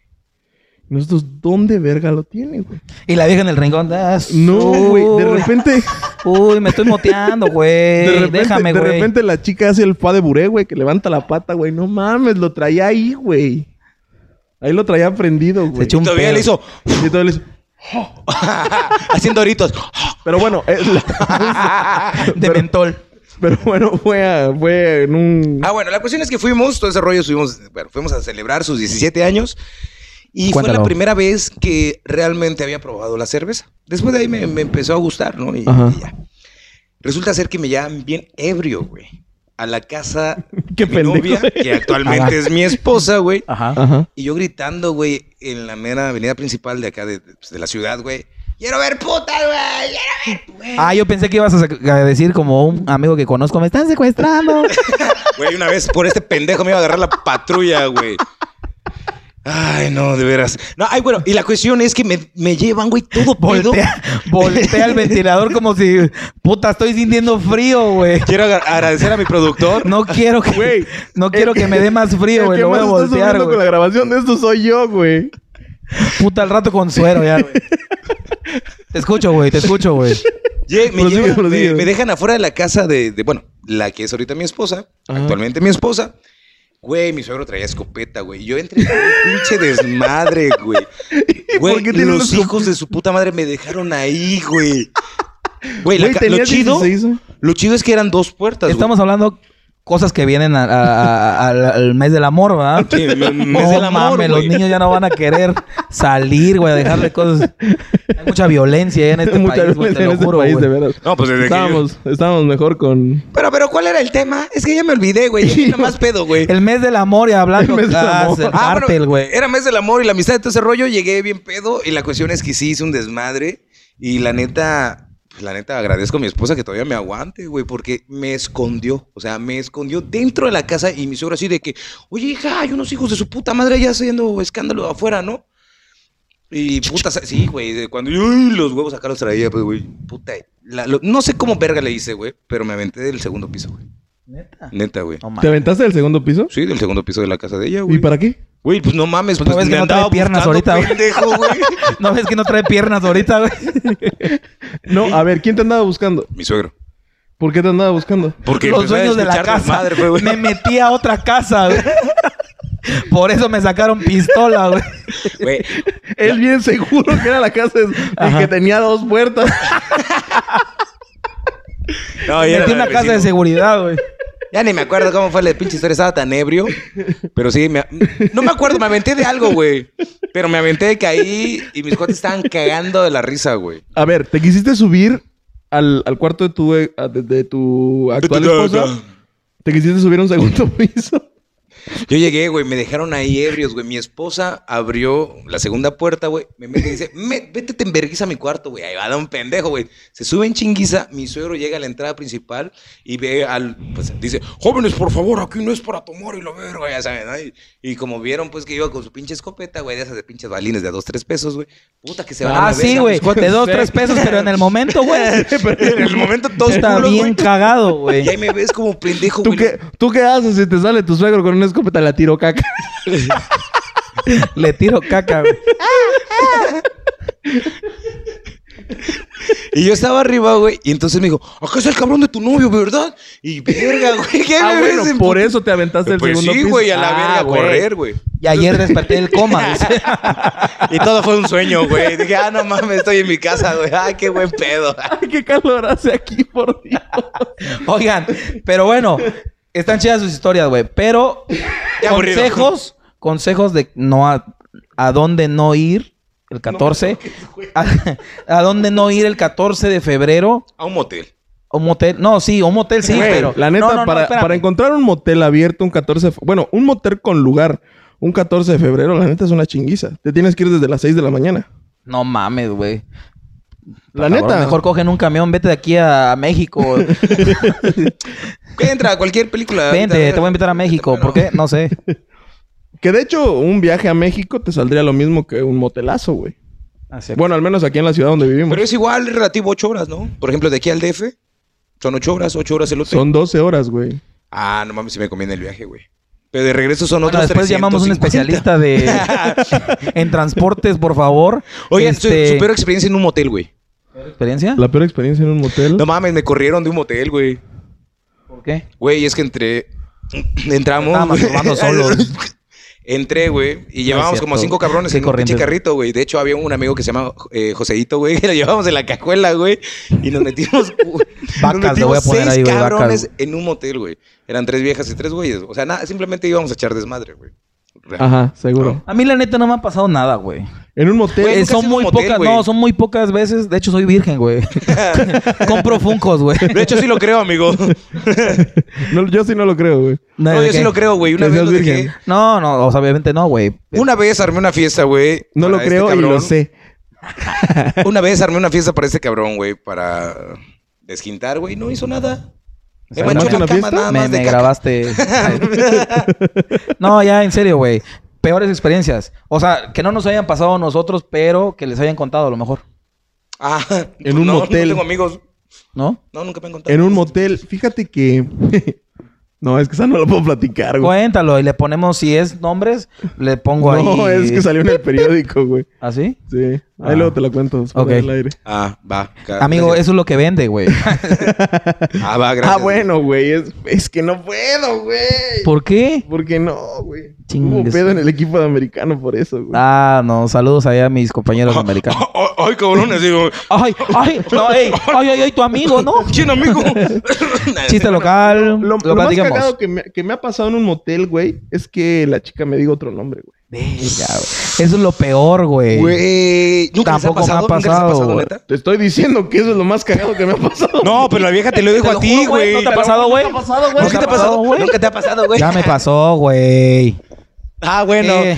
Speaker 3: Y nosotros, ¿dónde verga lo tiene, güey?
Speaker 1: Y la vieja en el rincón. ah,
Speaker 3: No, güey, de
Speaker 1: uy,
Speaker 3: repente,
Speaker 1: Uy, me estoy moteando, güey.
Speaker 3: de repente,
Speaker 1: Déjame,
Speaker 3: de
Speaker 1: güey.
Speaker 3: repente la chica hace el fa de buré, güey, que levanta la pata, güey. No mames, lo traía ahí, güey. Ahí lo traía prendido, güey.
Speaker 1: echó un-
Speaker 2: Todavía
Speaker 1: pedo.
Speaker 2: le hizo
Speaker 3: Y todo le hizo-
Speaker 2: haciendo oritos.
Speaker 3: Pero bueno, eh, la-
Speaker 1: Ah, De mentol.
Speaker 3: pero bueno, fue, a- fue en un...
Speaker 2: Ah, bueno, la cuestión es que fuimos, todo ese rollo, subimos, bueno, fuimos a celebrar sus 17 años. Y fue
Speaker 1: Cuéntalo.
Speaker 2: la primera vez que realmente había probado la cerveza. Después de ahí me, me empezó a gustar, ¿no? Y,
Speaker 3: Ajá.
Speaker 2: y ya. Resulta ser que me llevan bien ebrio, güey. A la casa
Speaker 3: Qué
Speaker 2: de mi novia,
Speaker 3: pendejo.
Speaker 2: que actualmente es mi esposa, güey.
Speaker 1: Ajá.
Speaker 3: Ajá.
Speaker 2: Y yo gritando, güey, en la mera avenida principal de acá, de, pues, de la ciudad, güey. ¡Quiero ver puta, güey! ¡Quiero ver, güey!
Speaker 1: Ah, yo pensé que ibas a, sac- a decir como un amigo que conozco, me están secuestrando.
Speaker 2: Güey, una vez por este pendejo me iba a agarrar la patrulla, güey. Ay, no, de veras. No, ay, bueno, y la cuestión es que me, me llevan, güey, todo pedo.
Speaker 1: Voltea, voltea el ventilador como si, puta, estoy sintiendo frío, güey.
Speaker 2: Quiero agra- agradecer a mi productor.
Speaker 1: No quiero que,
Speaker 3: Güey,
Speaker 1: no quiero que me dé más
Speaker 3: El
Speaker 1: frío, güey.
Speaker 3: que
Speaker 1: Lo voy
Speaker 3: más
Speaker 1: a
Speaker 3: está
Speaker 1: voltear,
Speaker 3: sufriendo
Speaker 1: güey.
Speaker 3: con la grabación de esto soy yo, güey.
Speaker 1: Puta, al rato con suero ya, güey. Te escucho, güey, te escucho, güey.
Speaker 2: Lle- me,
Speaker 3: Prosigue,
Speaker 2: llevan- me-
Speaker 3: prosigue.
Speaker 2: me dejan afuera de la casa de, de, bueno, la que es ahorita mi esposa,
Speaker 3: Ajá.
Speaker 2: actualmente mi esposa. Güey, mi suegro traía escopeta, güey. Yo entré en un pinche desmadre, güey. Güey,
Speaker 3: por qué tiene
Speaker 2: los
Speaker 3: una escopeta?
Speaker 2: hijos de su puta madre me dejaron ahí, güey. Güey, la
Speaker 3: Güey,
Speaker 2: ca- lo
Speaker 3: tenías
Speaker 2: chido,
Speaker 3: 16, ¿eh?
Speaker 2: lo chido es que eran dos puertas, güey.
Speaker 1: Estamos hablando cosas que vienen a- a- a- al, al mes del amor, ¿verdad?
Speaker 2: Sí, me- me-
Speaker 1: No
Speaker 2: mes del amor,
Speaker 1: mames, los
Speaker 2: güey.
Speaker 1: niños ya no van a querer salir, güey, a dejarle cosas. Hay mucha violencia en este
Speaker 3: Muchas
Speaker 1: país, güey,
Speaker 3: veces
Speaker 1: te
Speaker 3: en
Speaker 1: lo
Speaker 3: este
Speaker 1: juro,
Speaker 3: país,
Speaker 1: güey.
Speaker 3: de veras.
Speaker 2: No, pues desde que yo-
Speaker 3: estábamos, estábamos mejor con...
Speaker 2: Pero, pero, ¿cuál era el tema? Es que ya me olvidé, güey. Ya nada más pedo, güey.
Speaker 1: El mes del amor y hablando
Speaker 3: El mes del
Speaker 1: ah,
Speaker 3: amor.
Speaker 1: el
Speaker 2: Ah, bueno,
Speaker 1: cártel, güey.
Speaker 2: Era mes del amor y la amistad de todo ese rollo. Llegué bien pedo y la cuestión es que sí hice un desmadre. Y la neta, pues, la neta agradezco a mi esposa que todavía me aguante, güey, porque me escondió. O sea, me escondió dentro de la casa y mi suegra así de que, oye, hija, hay unos hijos de su puta madre allá haciendo escándalo afuera, ¿no? Y puta, sa- sí, güey, de cuando yo "Uy, los huevos acá los traía, pues, güey, puta. la- lo- no sé cómo verga le hice, güey, pero me aventé del segundo piso, güey.
Speaker 1: Neta.
Speaker 2: Neta, güey.
Speaker 1: No
Speaker 3: ¿Te
Speaker 1: mames.
Speaker 3: aventaste del segundo piso?
Speaker 2: Sí, del segundo piso de la casa de ella, güey.
Speaker 3: ¿Y para qué?
Speaker 2: Güey, pues no mames,
Speaker 1: Pues no
Speaker 2: pues
Speaker 1: ves
Speaker 2: me
Speaker 1: que no trae
Speaker 2: andaba
Speaker 1: piernas
Speaker 2: buscando,
Speaker 1: ahorita, güey.
Speaker 2: pendejo, güey.
Speaker 1: No ves que no trae piernas ahorita, güey.
Speaker 3: No, a ver, ¿quién te andaba buscando?
Speaker 2: Mi suegro.
Speaker 3: ¿Por qué te andaba buscando?
Speaker 2: Porque
Speaker 1: los
Speaker 2: empezó a
Speaker 1: dueños de la
Speaker 2: escuchar
Speaker 1: casa.
Speaker 2: desmadre, güey, güey.
Speaker 1: me metí a otra casa, güey. Por eso me sacaron pistola, güey.
Speaker 2: Güey,
Speaker 3: Él bien seguro que era la casa de- y
Speaker 1: Ajá.
Speaker 3: que tenía dos puertas.
Speaker 2: No,
Speaker 1: Me
Speaker 2: ya
Speaker 1: metí
Speaker 2: era
Speaker 1: a una
Speaker 2: del
Speaker 1: casa de
Speaker 2: vecino.
Speaker 1: seguridad, güey.
Speaker 2: Ya ni me acuerdo cómo fue la pinche historia. Estaba tan ebrio. Pero sí, me- no me acuerdo. Me aventé de algo, güey. Pero me aventé de caí y mis cuates estaban cagando de la risa, güey.
Speaker 3: A ver, ¿te quisiste subir al, al cuarto de tu, eh, de, de tu actual esposa? ¿Te quisiste subir a un segundo piso?
Speaker 2: Yo llegué, güey. Me dejaron ahí ebrios, güey. Mi esposa abrió la segunda puerta, güey. Me mete y dice, "Me- vete, te enverguiza a mi cuarto, güey. Ahí va, da un pendejo, güey. Se sube en chinguiza. Mi suegro llega a la entrada principal y ve al... Pues dice, jóvenes, por favor, aquí no es para tomar y la verga, ya saben. ¿no? Y, y como vieron, pues, que iba con su pinche escopeta, güey. De esas de pinches balines de a dos, tres pesos, güey. Puta, que se van a la
Speaker 1: Ah, sí,
Speaker 2: verga,
Speaker 1: güey.
Speaker 2: mis cuates.
Speaker 1: De dos, tres pesos, pero en el momento, güey.
Speaker 2: en el momento todos
Speaker 1: Está
Speaker 2: culos,
Speaker 1: bien
Speaker 2: güey.
Speaker 1: cagado, güey.
Speaker 2: Y ahí me ves como pendejo,
Speaker 3: ¿Tú
Speaker 2: güey.
Speaker 3: qué, ¿Tú qué haces si te sale tu suegro con una escopeta? La tiro caca.
Speaker 1: Le tiro caca, güey.
Speaker 2: Y yo estaba arriba, güey. Y entonces me dijo, acá es el cabrón de tu novio, ¿verdad? Y verga, güey. ¿Qué
Speaker 3: Ah,
Speaker 2: me
Speaker 3: bueno,
Speaker 2: ves en
Speaker 3: por
Speaker 2: puto-
Speaker 3: eso te aventaste del
Speaker 2: Pues
Speaker 3: segundo
Speaker 2: sí,
Speaker 3: piso.
Speaker 2: güey, a la
Speaker 1: Ah,
Speaker 2: verga, a
Speaker 1: güey.
Speaker 2: correr, güey.
Speaker 1: Y ayer desperté el coma, dice.
Speaker 2: Y todo fue un sueño, güey. Dije, ah, no mames, estoy en mi casa, güey. Ah, qué buen pedo.
Speaker 3: Ay, qué calor hace aquí, por Dios.
Speaker 1: Oigan, pero bueno, están chidas sus historias, güey. Pero
Speaker 2: Qué aburrido.
Speaker 1: consejos, consejos de no a, a dónde no ir el 14. a, a dónde no ir el 14 de febrero.
Speaker 2: A un motel.
Speaker 1: O motel. No, sí, un motel sí,
Speaker 3: Güey,
Speaker 1: pero.
Speaker 3: La neta,
Speaker 1: no, no, no,
Speaker 3: para,
Speaker 1: espérame.
Speaker 3: para encontrar un motel abierto un 14 de fe- Bueno, un motel con lugar un 14 de febrero, la neta es una chinguiza. Te tienes que ir desde las 6 de la mañana.
Speaker 1: No mames, güey.
Speaker 3: La
Speaker 1: Cabrón,
Speaker 3: neta.
Speaker 1: Mejor cogen un camión, vete de aquí a, a México.
Speaker 2: ¿Qué entra? a Cualquier película.
Speaker 1: Vente, te voy a invitar a México. ¿Por qué? No sé.
Speaker 3: Que de hecho, un viaje a México te saldría lo mismo que un motelazo, güey.
Speaker 1: Así-
Speaker 3: Bueno, al menos aquí en la ciudad donde vivimos.
Speaker 2: Pero es igual relativo ocho horas, ¿no? Por ejemplo, de aquí al DF son ocho horas, ocho horas el hotel.
Speaker 3: Son 12 horas, güey.
Speaker 2: Ah, no mames, si me conviene el viaje, güey. Pero de regreso son
Speaker 1: Bueno,
Speaker 2: otros
Speaker 1: después llamamos a un
Speaker 2: 350.
Speaker 1: especialista de en transportes, por favor.
Speaker 2: Oye,
Speaker 1: Este,
Speaker 2: su, su peor experiencia en un motel, güey.
Speaker 1: experiencia.
Speaker 3: La peor experiencia en un motel.
Speaker 2: No mames, me corrieron de un motel, güey.
Speaker 1: ¿Por qué?
Speaker 2: Güey, es que entré. Entramos.
Speaker 1: Estaba
Speaker 2: güey.
Speaker 1: masturbando solo.
Speaker 2: Entré, güey, y
Speaker 1: No es
Speaker 2: llevábamos
Speaker 1: cierto.
Speaker 2: como cinco cabrones
Speaker 1: Qué
Speaker 2: en un pinche
Speaker 1: corrientes.
Speaker 2: carrito, güey. De hecho, había un amigo que se llama eh, Joseito, güey, que lo llevábamos en la cajuela, güey, y nos metimos,
Speaker 1: Vacas,
Speaker 2: nos
Speaker 1: le
Speaker 2: metimos
Speaker 1: voy a poner
Speaker 2: seis
Speaker 1: ahí, güey, vacas,
Speaker 2: cabrones
Speaker 1: güey.
Speaker 2: en un motel, güey. Eran tres viejas y tres güeyes. O sea, nada, simplemente íbamos a echar desmadre, güey.
Speaker 3: Ajá, seguro.
Speaker 1: A mí la neta no me ha pasado nada, güey.
Speaker 3: En un motel.
Speaker 2: Güey,
Speaker 1: Eh,
Speaker 2: nunca has
Speaker 1: son
Speaker 2: ido a
Speaker 1: muy
Speaker 2: un motel,
Speaker 1: pocas,
Speaker 2: güey.
Speaker 1: no, son muy pocas veces. De hecho, soy virgen, güey. Compro funcos, güey.
Speaker 2: De hecho, sí lo creo, amigo.
Speaker 3: no, yo sí no lo creo, güey.
Speaker 1: No,
Speaker 2: No,
Speaker 1: ¿de
Speaker 2: yo sí
Speaker 1: qué?
Speaker 2: lo creo, güey. Una
Speaker 3: Que
Speaker 2: vez
Speaker 3: seas
Speaker 2: lo dejé.
Speaker 3: virgen.
Speaker 1: No, no, o sea, obviamente no, güey.
Speaker 2: Una vez armé una fiesta, güey.
Speaker 3: No lo
Speaker 2: para este
Speaker 3: creo y lo
Speaker 2: cabrón.
Speaker 3: sé.
Speaker 2: Una vez armé una fiesta para este cabrón, güey, para desquintar, güey. No hizo nada. Me
Speaker 1: ¿Armaste
Speaker 2: manchó la
Speaker 3: una
Speaker 2: cama
Speaker 3: fiesta?
Speaker 2: nada
Speaker 1: Me,
Speaker 2: más de
Speaker 1: me
Speaker 2: caca.
Speaker 1: grabaste. no, ya, en serio, güey. peores experiencias. O sea, que no nos hayan pasado a nosotros, pero que les hayan contado a lo mejor.
Speaker 2: Ah, pues
Speaker 3: un
Speaker 2: no,
Speaker 3: motel.
Speaker 2: No tengo amigos.
Speaker 1: ¿No?
Speaker 2: No, nunca me han contado.
Speaker 3: En un motel, fíjate que. no, es que esa no la puedo platicar, güey.
Speaker 1: Cuéntalo y le ponemos, si es nombres, le pongo ahí.
Speaker 3: No, es que salió en el periódico, güey.
Speaker 1: ¿Así?
Speaker 3: Sí.
Speaker 1: Ah.
Speaker 3: Ahí luego te la cuento. después
Speaker 1: Ok.
Speaker 3: del aire.
Speaker 2: Ah, va. ca-
Speaker 1: Amigo,
Speaker 2: gracias.
Speaker 1: eso es lo que vende, güey.
Speaker 2: Ah, va, gracias.
Speaker 3: Ah, bueno, güey. Es, es que no puedo, güey.
Speaker 1: ¿Por qué?
Speaker 3: Porque no, güey.
Speaker 1: Chingue
Speaker 3: Hubo pedo
Speaker 1: su-
Speaker 3: en el equipo de americano por eso, güey.
Speaker 1: Ah, no, saludos allá a mis compañeros americanos.
Speaker 2: Ay, Ay, cabrón, así como,
Speaker 1: Ay, ay, no, ey, ay, ay, ay, tu amigo, ¿no?
Speaker 2: chino, amigo.
Speaker 1: Chiste local, lo,
Speaker 3: Lo, lo más
Speaker 1: platicamos.
Speaker 3: cagado que me, que me ha pasado en un motel, güey, es que la chica me diga otro nombre, güey.
Speaker 1: Verga, güey. Eso es lo peor, güey.
Speaker 2: Güey, nunca les ha
Speaker 1: Tampoco me ha
Speaker 2: pasado, nunca les ha
Speaker 1: pasado,
Speaker 2: pasado,
Speaker 1: güey.
Speaker 2: neta.
Speaker 3: Te estoy diciendo que eso es lo más cagado que me ha pasado.
Speaker 2: No, pero la vieja te lo dijo
Speaker 1: Te lo
Speaker 2: a ti,
Speaker 1: juro,
Speaker 2: güey.
Speaker 1: ¿No te ha pasado, güey?
Speaker 2: ¿Nunca te ha pasado, güey? Nunca te ha pasado, güey.
Speaker 1: Ya me pasó, güey.
Speaker 2: Ah, bueno.
Speaker 1: Eh.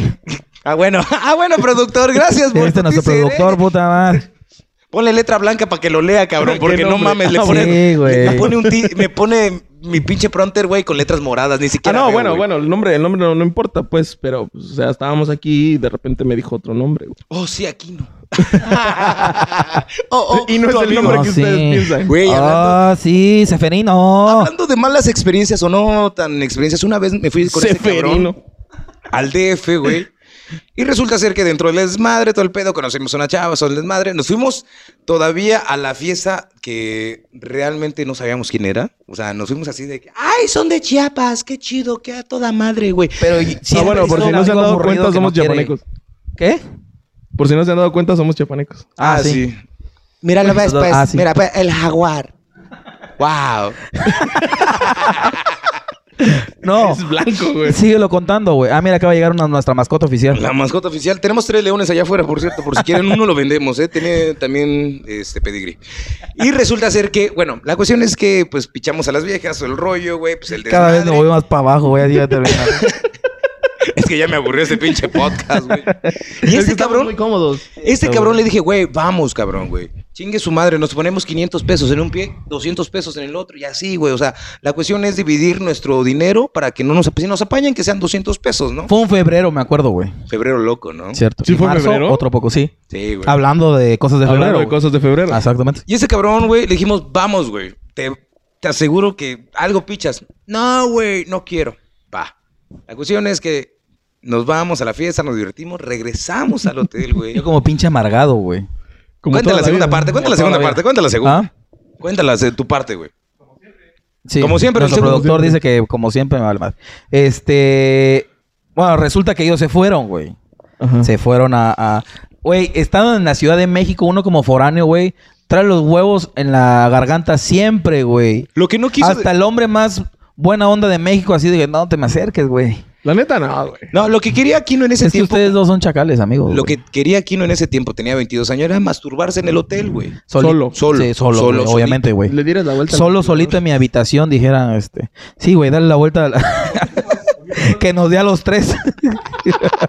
Speaker 2: Ah, bueno. Ah, bueno, productor. Gracias
Speaker 1: Este
Speaker 2: por
Speaker 1: es
Speaker 2: tu
Speaker 1: nuestro
Speaker 2: teaser, ¿eh?
Speaker 1: productor, puta madre.
Speaker 2: Ponle letra blanca para que lo lea, cabrón.
Speaker 3: ¿Qué
Speaker 2: Porque no
Speaker 3: nombre?
Speaker 2: mames, le
Speaker 1: Ah,
Speaker 2: pone.
Speaker 1: sí, güey.
Speaker 2: me pone un ti- me pone mi pinche prompter, güey, con letras moradas, ni
Speaker 3: Ah,
Speaker 2: siquiera.
Speaker 3: no,
Speaker 2: veo,
Speaker 3: bueno,
Speaker 2: güey.
Speaker 3: bueno, el nombre, el nombre no, no importa, pues, pero, pues, o sea, estábamos aquí y de repente me dijo otro nombre, güey.
Speaker 2: Oh, sí, aquí no. oh, oh,
Speaker 3: y no es
Speaker 2: tu
Speaker 3: el
Speaker 2: amigo.
Speaker 3: nombre
Speaker 1: No,
Speaker 3: que
Speaker 1: sí.
Speaker 3: ustedes piensan.
Speaker 2: Güey, hablando,
Speaker 1: Ah, sí, Seferino.
Speaker 2: hablando de malas experiencias o no tan experiencias, una vez me fui con ese cabrón
Speaker 3: Seferino. Ah,
Speaker 2: al DF, güey. Y resulta ser que dentro del desmadre, todo el pedo, conocimos a una chava, son el desmadre. Nos fuimos todavía a la fiesta que realmente no sabíamos quién era. O sea, nos fuimos así de que, ¡ay, son de Chiapas! ¡Qué chido! ¡Qué a toda madre, güey!
Speaker 1: Pero
Speaker 3: Ah, bueno, por si no se han dado cuenta, somos chiapanecos.
Speaker 1: ¿Qué?
Speaker 3: Por si no se han dado cuenta, somos chiapanecos.
Speaker 1: Ah, sí.
Speaker 2: Mira
Speaker 1: la Vespa, Ah, sí. mira,
Speaker 2: el jaguar. ¡Wow!
Speaker 1: No.
Speaker 3: Es blanco, güey.
Speaker 1: Síguelo contando, güey. Ah, mira, acaba de llegar una, nuestra mascota oficial.
Speaker 2: La mascota oficial. Tenemos tres leones allá afuera, por cierto. Por si quieren uno lo vendemos, ¿eh? Tiene también este pedigrí. Y resulta ser que, bueno, la cuestión es que, pues, pichamos a las viejas, el rollo, güey, pues el
Speaker 1: Cada vez me
Speaker 2: desmadre.
Speaker 1: voy más para abajo, güey. así ya terminar.
Speaker 2: Es que ya me aburrió este pinche podcast, güey.
Speaker 3: Es
Speaker 2: Y
Speaker 3: que
Speaker 2: este
Speaker 3: estamos
Speaker 2: cabrón,
Speaker 3: Muy cómodos.
Speaker 2: este cabrón le dije, güey, vamos, cabrón, güey. Chingue su madre, nos ponemos 500 pesos en un pie, 200 pesos en el otro y así, güey. O sea, la cuestión es dividir nuestro dinero para que no nos, si nos apañen, que sean 200 pesos, ¿no?
Speaker 1: Fue un febrero, me acuerdo, güey.
Speaker 2: Febrero loco, ¿no? Sí,
Speaker 1: Cierto.
Speaker 3: ¿Sí
Speaker 1: Y
Speaker 3: fue en
Speaker 1: marzo,
Speaker 3: febrero?
Speaker 1: Otro poco, sí.
Speaker 2: güey.
Speaker 1: Hablando de cosas de febrero.
Speaker 3: Hablando de
Speaker 1: güey.
Speaker 3: cosas de febrero.
Speaker 1: Exactamente.
Speaker 2: Y ese cabrón, güey, le dijimos, vamos, güey. Te, te aseguro que algo pichas. No, güey, no quiero. Va. La cuestión es que nos vamos a la fiesta, nos divertimos, regresamos al hotel, güey.
Speaker 1: Yo como pinche amargado, güey.
Speaker 3: Como
Speaker 2: cuenta
Speaker 3: toda
Speaker 2: la segunda
Speaker 3: vida.
Speaker 2: parte, cuenta
Speaker 1: Como toda
Speaker 2: la
Speaker 1: la
Speaker 2: segunda
Speaker 1: vida.
Speaker 2: parte, cuenta la segunda.
Speaker 1: ¿Ah?
Speaker 2: Cuéntala de tu parte, güey.
Speaker 1: Sí.
Speaker 2: Como siempre,
Speaker 1: Nuestro
Speaker 2: el segundo-
Speaker 1: productor dice que como siempre me vale más. Este... Bueno, resulta que ellos se fueron, güey.
Speaker 2: Ah.
Speaker 3: Ajá.
Speaker 1: Se fueron a... a- Güey, estando en la Ciudad de México, uno como foráneo, güey, trae los huevos en la garganta siempre, güey.
Speaker 2: Lo que no quiso.
Speaker 1: Hasta el hombre más buena onda de México, así de que no te me acerques, güey.
Speaker 3: La neta, no, güey.
Speaker 2: No, lo que quería Aquino en ese
Speaker 1: Es que
Speaker 2: tiempo.
Speaker 1: ustedes dos son chacales, amigos.
Speaker 2: Lo
Speaker 1: güey.
Speaker 2: que quería Aquino en ese tiempo, tenía 22 años, era masturbarse en el hotel, güey.
Speaker 1: Soli-
Speaker 3: Solo.
Speaker 2: Solo.
Speaker 1: Sí, solo,
Speaker 2: Solo,
Speaker 1: güey,
Speaker 2: solito.
Speaker 1: obviamente, güey.
Speaker 3: Le dieras la vuelta. al-
Speaker 1: Solo, solito en mi habitación, dijera, este. Sí, güey, dale la vuelta. a la- que nos dé a los tres.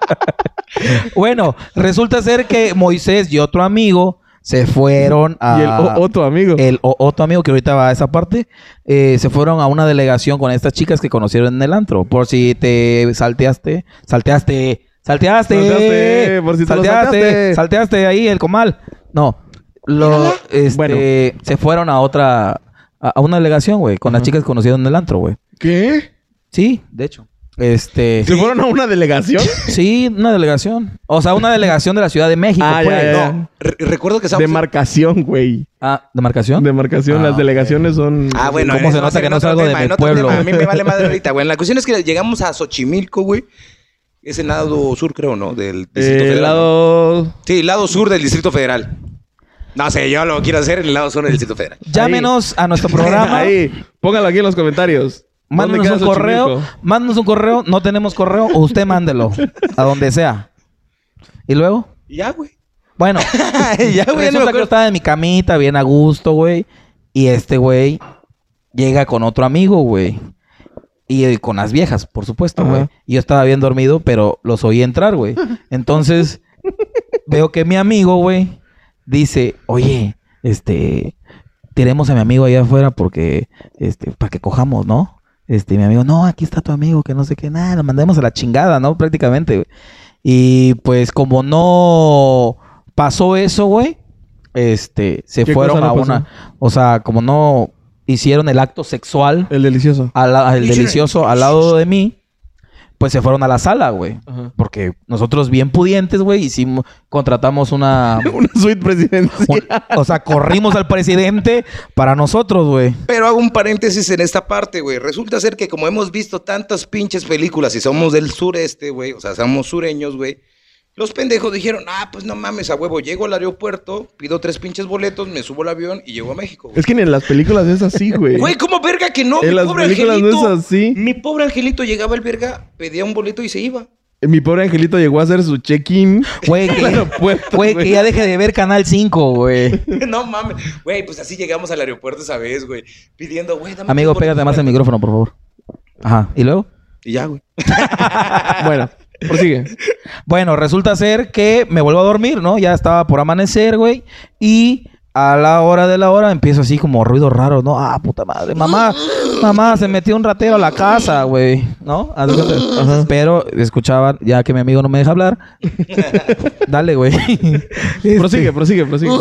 Speaker 1: bueno, resulta ser que Moisés y otro amigo se fueron a.
Speaker 3: Y el o- otro amigo.
Speaker 1: El o- otro amigo que ahorita va a esa parte, eh, se fueron a una delegación con estas chicas que conocieron en el antro. Por si te salteaste, salteaste, salteaste,
Speaker 3: Salteaste, por si te lo salteaste.
Speaker 1: salteaste ahí el comal. No, lo, este,
Speaker 3: Bueno.
Speaker 1: se fueron a otra, a, a una delegación, güey, con las chicas que conocieron en el antro, güey.
Speaker 3: ¿Qué?
Speaker 1: Sí, de hecho. Este,
Speaker 3: ¿Se fueron a una delegación?
Speaker 1: sí, una delegación. O sea, una delegación de la Ciudad de México,
Speaker 3: Ah, ya,
Speaker 1: pues.
Speaker 3: ya, ya.
Speaker 1: No.
Speaker 2: Re- recuerdo que estábamos.
Speaker 3: Demarcación, güey.
Speaker 1: Ah, ¿demarcación?
Speaker 3: Demarcación.
Speaker 1: Ah,
Speaker 3: Las
Speaker 1: ok.
Speaker 3: delegaciones son...
Speaker 2: Ah, bueno.
Speaker 1: ¿Cómo
Speaker 2: en-
Speaker 1: se nota
Speaker 2: en
Speaker 1: que no
Speaker 2: otro
Speaker 1: salgo de
Speaker 2: tema,
Speaker 1: mi
Speaker 2: en otro
Speaker 1: pueblo?
Speaker 2: tema. A mí me vale madre ahorita, güey. La cuestión es que llegamos a Xochimilco, güey. Ese lado sur, creo, ¿no? Del Distrito
Speaker 3: Eh,
Speaker 2: Federal. ¿no?
Speaker 3: lado...
Speaker 2: Sí, lado sur del Distrito Federal. No sé, yo lo quiero hacer en el lado sur del Distrito Federal.
Speaker 1: Llámenos a nuestro programa.
Speaker 3: Ahí. Póngalo aquí en los comentarios. ¿Dónde
Speaker 1: Mándanos
Speaker 3: queda
Speaker 1: un correo.
Speaker 3: Xochimilco?
Speaker 1: Mándanos un correo. No tenemos correo. o Usted mándelo. A donde sea. Y luego,
Speaker 2: Y Ya, güey.
Speaker 1: bueno.
Speaker 2: ya, güey. ya no me
Speaker 1: resulta que yo
Speaker 2: acuerdo.
Speaker 1: estaba en mi camita, bien a gusto, güey. Y este güey llega con otro amigo, güey. Y eh, con las viejas, por supuesto,
Speaker 3: Ajá.
Speaker 1: güey. Y yo estaba bien dormido, pero los oí entrar, güey. Entonces, veo que mi amigo, güey, dice, oye, este, tiremos a mi amigo allá afuera porque, este, para que cojamos, ¿no? Este, mi amigo, no, aquí está tu amigo, que no sé qué, nada, lo mandamos a la chingada, ¿no? Prácticamente, güey. Y pues como no pasó eso, güey, este, se
Speaker 3: ¿Qué
Speaker 1: fueron
Speaker 3: cosa no
Speaker 1: a una, o sea, como no hicieron el acto sexual
Speaker 3: El delicioso.
Speaker 1: al, al delicioso al lado de mí, pues se fueron a la sala, güey.
Speaker 3: Ajá.
Speaker 1: Porque nosotros bien pudientes, güey, hicimos, contratamos una...
Speaker 3: Una suite presidencial.
Speaker 1: un- o sea, corrimos al presidente para nosotros, güey.
Speaker 2: Pero hago un paréntesis en esta parte, güey. Resulta ser que como hemos visto tantas pinches películas y somos del sureste, güey, o sea, somos sureños, güey. Los pendejos dijeron, ah, pues no mames, a huevo, llego al aeropuerto, pido tres pinches boletos, me subo al avión y llego a México. güey".
Speaker 3: Es que ni en las películas es así, güey.
Speaker 2: Güey, ¿cómo verga que no?
Speaker 3: En las películas no es así.
Speaker 2: Mi pobre angelito llegaba el verga, pedía un boleto y se iba.
Speaker 3: Eh, Mi pobre angelito llegó a hacer su check-in.
Speaker 1: Güey,
Speaker 3: al
Speaker 1: que,
Speaker 3: aeropuerto,
Speaker 1: güey, que ya deje de ver Canal 5, güey.
Speaker 2: no mames. Güey, pues así llegamos al aeropuerto esa vez, güey. Pidiendo, güey, dame
Speaker 1: Amigo,
Speaker 2: tres boletos
Speaker 1: pégate más
Speaker 2: para-".
Speaker 1: el micrófono, por favor. Ajá, ¿y luego?
Speaker 2: Y ya, güey.
Speaker 3: Bueno, prosigue.
Speaker 1: Bueno, resulta ser que me vuelvo a dormir, ¿no? Ya estaba por amanecer, güey. Y a la hora de la hora empiezo así como ruido raro, ¿no? Ah, puta madre. Mamá, mamá, se metió un ratero a la casa, güey. ¿No? Haz de cuenta. Pero escuchaban, ya que mi amigo no me deja hablar. Dale, güey. Este,
Speaker 3: Prosigue, prosigue, prosigue.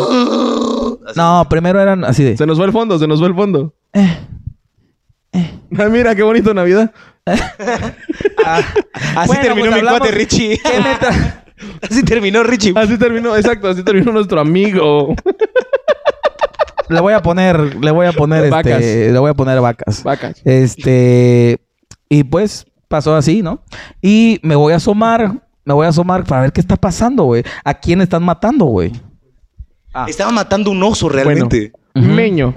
Speaker 1: No, primero eran así de. "Eh".
Speaker 3: Se nos va el fondo, se nos va el fondo. Ah, mira, qué bonito Navidad.
Speaker 1: Así
Speaker 2: Ah, terminó mi cuate Richie. Así terminó Richie.
Speaker 3: Así terminó, exacto, así terminó nuestro amigo.
Speaker 1: Le voy a poner, le voy a poner este,
Speaker 3: Vacas.
Speaker 1: le voy a poner vacas.
Speaker 3: Vacas.
Speaker 1: Este, y pues pasó así, ¿no? Y me voy a asomar, me voy a asomar para ver qué está pasando, güey. ¿A quién están matando, güey? Ah.
Speaker 2: Estaba matando un oso realmente.
Speaker 1: Ujú.
Speaker 3: Meño.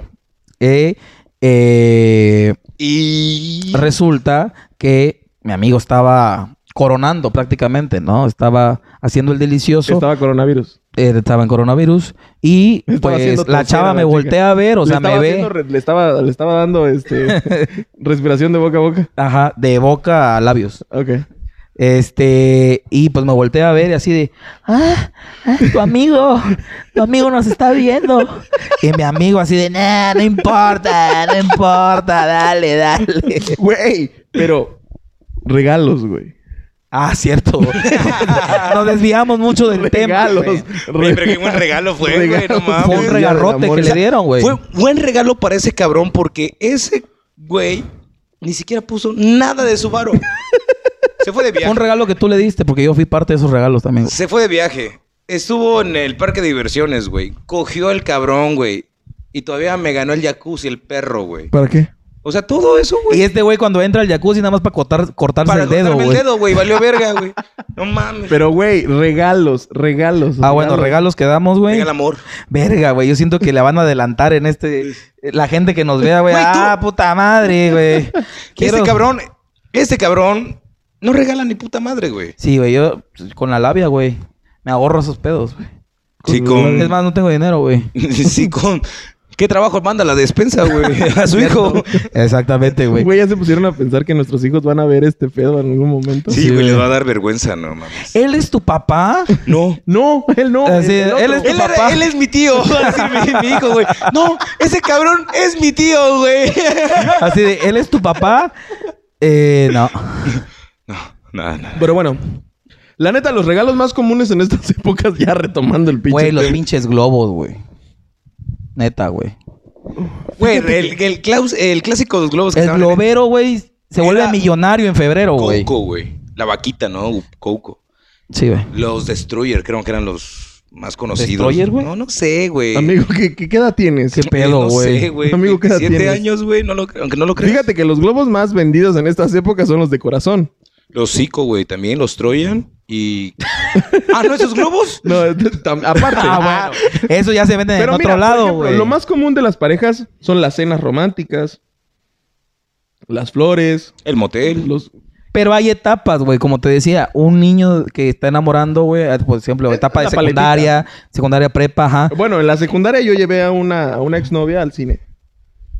Speaker 1: Eh, eh,
Speaker 2: Y.
Speaker 1: resulta que mi amigo estaba coronando prácticamente, ¿no? Estaba haciendo el delicioso.
Speaker 3: Estaba coronavirus.
Speaker 1: eh, estaba en coronavirus y
Speaker 3: Estaba haciendo
Speaker 1: pues la
Speaker 3: tercera,
Speaker 1: chava me
Speaker 3: chica.
Speaker 1: voltea a ver, o
Speaker 3: Le
Speaker 1: sea, me
Speaker 3: estaba
Speaker 1: ve.
Speaker 3: haciendo re- le, estaba, le estaba dando este, respiración de boca a boca.
Speaker 1: Ajá, de boca a labios.
Speaker 3: Ok.
Speaker 1: Este, y pues me volteé a ver y así de, ah, ah, tu amigo, tu amigo nos está viendo. Y mi amigo así de, nah, no importa, no importa, dale, dale.
Speaker 3: Güey, pero regalos, güey.
Speaker 1: Ah, cierto. Nos desviamos mucho del tema.
Speaker 3: Regalos. Ah,
Speaker 1: güey.
Speaker 2: Güey, pero qué buen regalo fue, güey, no
Speaker 3: Regalos.
Speaker 2: mames.
Speaker 1: Fue un regarrote que le dieron, güey.
Speaker 2: Fue buen regalo para ese cabrón porque ese güey ni siquiera puso nada de su varo. Se fue de
Speaker 1: Fue
Speaker 2: viaje.
Speaker 1: un regalo que tú le diste porque yo fui parte de esos regalos también. güey.
Speaker 2: Se fue de viaje. Estuvo en el parque de diversiones, güey. Cogió el cabrón, güey. Y todavía me ganó el jacuzzi, el perro, güey.
Speaker 3: ¿Para qué?
Speaker 2: O sea, todo eso, güey.
Speaker 1: Y este güey cuando entra al jacuzzi nada más para cortar, cortarse
Speaker 2: para
Speaker 1: el dedo,
Speaker 2: cortarme el
Speaker 1: güey.
Speaker 2: dedo, güey. Valió verga, güey. No mames.
Speaker 3: Pero, güey, regalos, regalos.
Speaker 1: Ah, bueno, regalos que damos, güey.
Speaker 2: Venga el amor.
Speaker 1: Verga, güey. Yo siento que le van a adelantar en este. La gente que nos vea, güey.
Speaker 2: Güey, tú-
Speaker 1: Ah, puta madre, güey. Quiero-
Speaker 2: Este cabrón, este cabrón no regala ni puta madre, güey.
Speaker 1: Sí, güey. Yo pues, con la labia, güey. Me ahorro esos pedos, güey.
Speaker 2: Sí,
Speaker 1: Es
Speaker 2: con.
Speaker 1: más, no tengo dinero, güey.
Speaker 2: Sí, con. ¿Qué trabajo manda la despensa, güey? A su hijo.
Speaker 1: Exactamente, güey.
Speaker 3: Güey, ya se pusieron a pensar que nuestros hijos van a ver este pedo en algún momento.
Speaker 1: Sí, Eh,
Speaker 2: Sí, güey,
Speaker 1: güey.
Speaker 2: les va a dar vergüenza, no mames.
Speaker 1: ¿Él es tu papá?
Speaker 2: No.
Speaker 3: No, él no.
Speaker 1: Así,
Speaker 3: el otro.
Speaker 1: Ah, él es-
Speaker 2: Él, era-
Speaker 1: papá.
Speaker 2: él es mi tío, va a decir mi, mi hijo, güey. No, ese cabrón es mi tío, güey.
Speaker 1: Así de, ¿él es tu papá? Eh, no.
Speaker 2: No, nada, nada.
Speaker 3: Pero bueno, la neta, los regalos más comunes en estas épocas, ya retomando el pinche.
Speaker 1: Güey, los
Speaker 3: tema.
Speaker 1: pinches globos, güey. Neta, güey.
Speaker 2: Güey, el, el, claus- el clásico de los globos que
Speaker 1: El
Speaker 2: estaban en-
Speaker 1: globero, güey, se
Speaker 2: Era-
Speaker 1: vuelve millonario en febrero, güey.
Speaker 2: Coco, güey. La vaquita, ¿no? Coco.
Speaker 1: Sí, güey.
Speaker 2: Los Destroyer, creo que eran los más conocidos.
Speaker 1: ¿Destroyer, güey?
Speaker 2: No, no sé, güey.
Speaker 3: Amigo, ¿qué, qué, qué edad tienes?
Speaker 1: Qué
Speaker 2: Eh,
Speaker 1: pedo,
Speaker 2: No
Speaker 1: güey.
Speaker 2: sé, güey.
Speaker 3: Amigo, ¿qué edad
Speaker 2: 27
Speaker 3: tienes?
Speaker 2: años, güey. No lo creo, aunque no lo creas.
Speaker 3: Fíjate que los globos más vendidos en estas épocas son los de corazón.
Speaker 2: Los Zico, güey, también. Los Troyan y... ah, ¿no? ¿Esos globos?
Speaker 3: No, tam- aparte.
Speaker 1: Ah, bueno. Eso ya se vende en
Speaker 3: Pero
Speaker 1: otro
Speaker 3: mira, por
Speaker 1: lado,
Speaker 3: ejemplo,
Speaker 1: güey.
Speaker 3: lo más común de las parejas son las cenas románticas, las flores,
Speaker 2: El motel.
Speaker 3: los...
Speaker 1: Pero hay etapas, güey. Como te decía, un niño que está enamorando, güey, eh, por ejemplo, etapa de
Speaker 3: La paletita.
Speaker 1: secundaria, secundaria prepa, ajá.
Speaker 3: Bueno, en la secundaria yo llevé a una, a una exnovia al cine.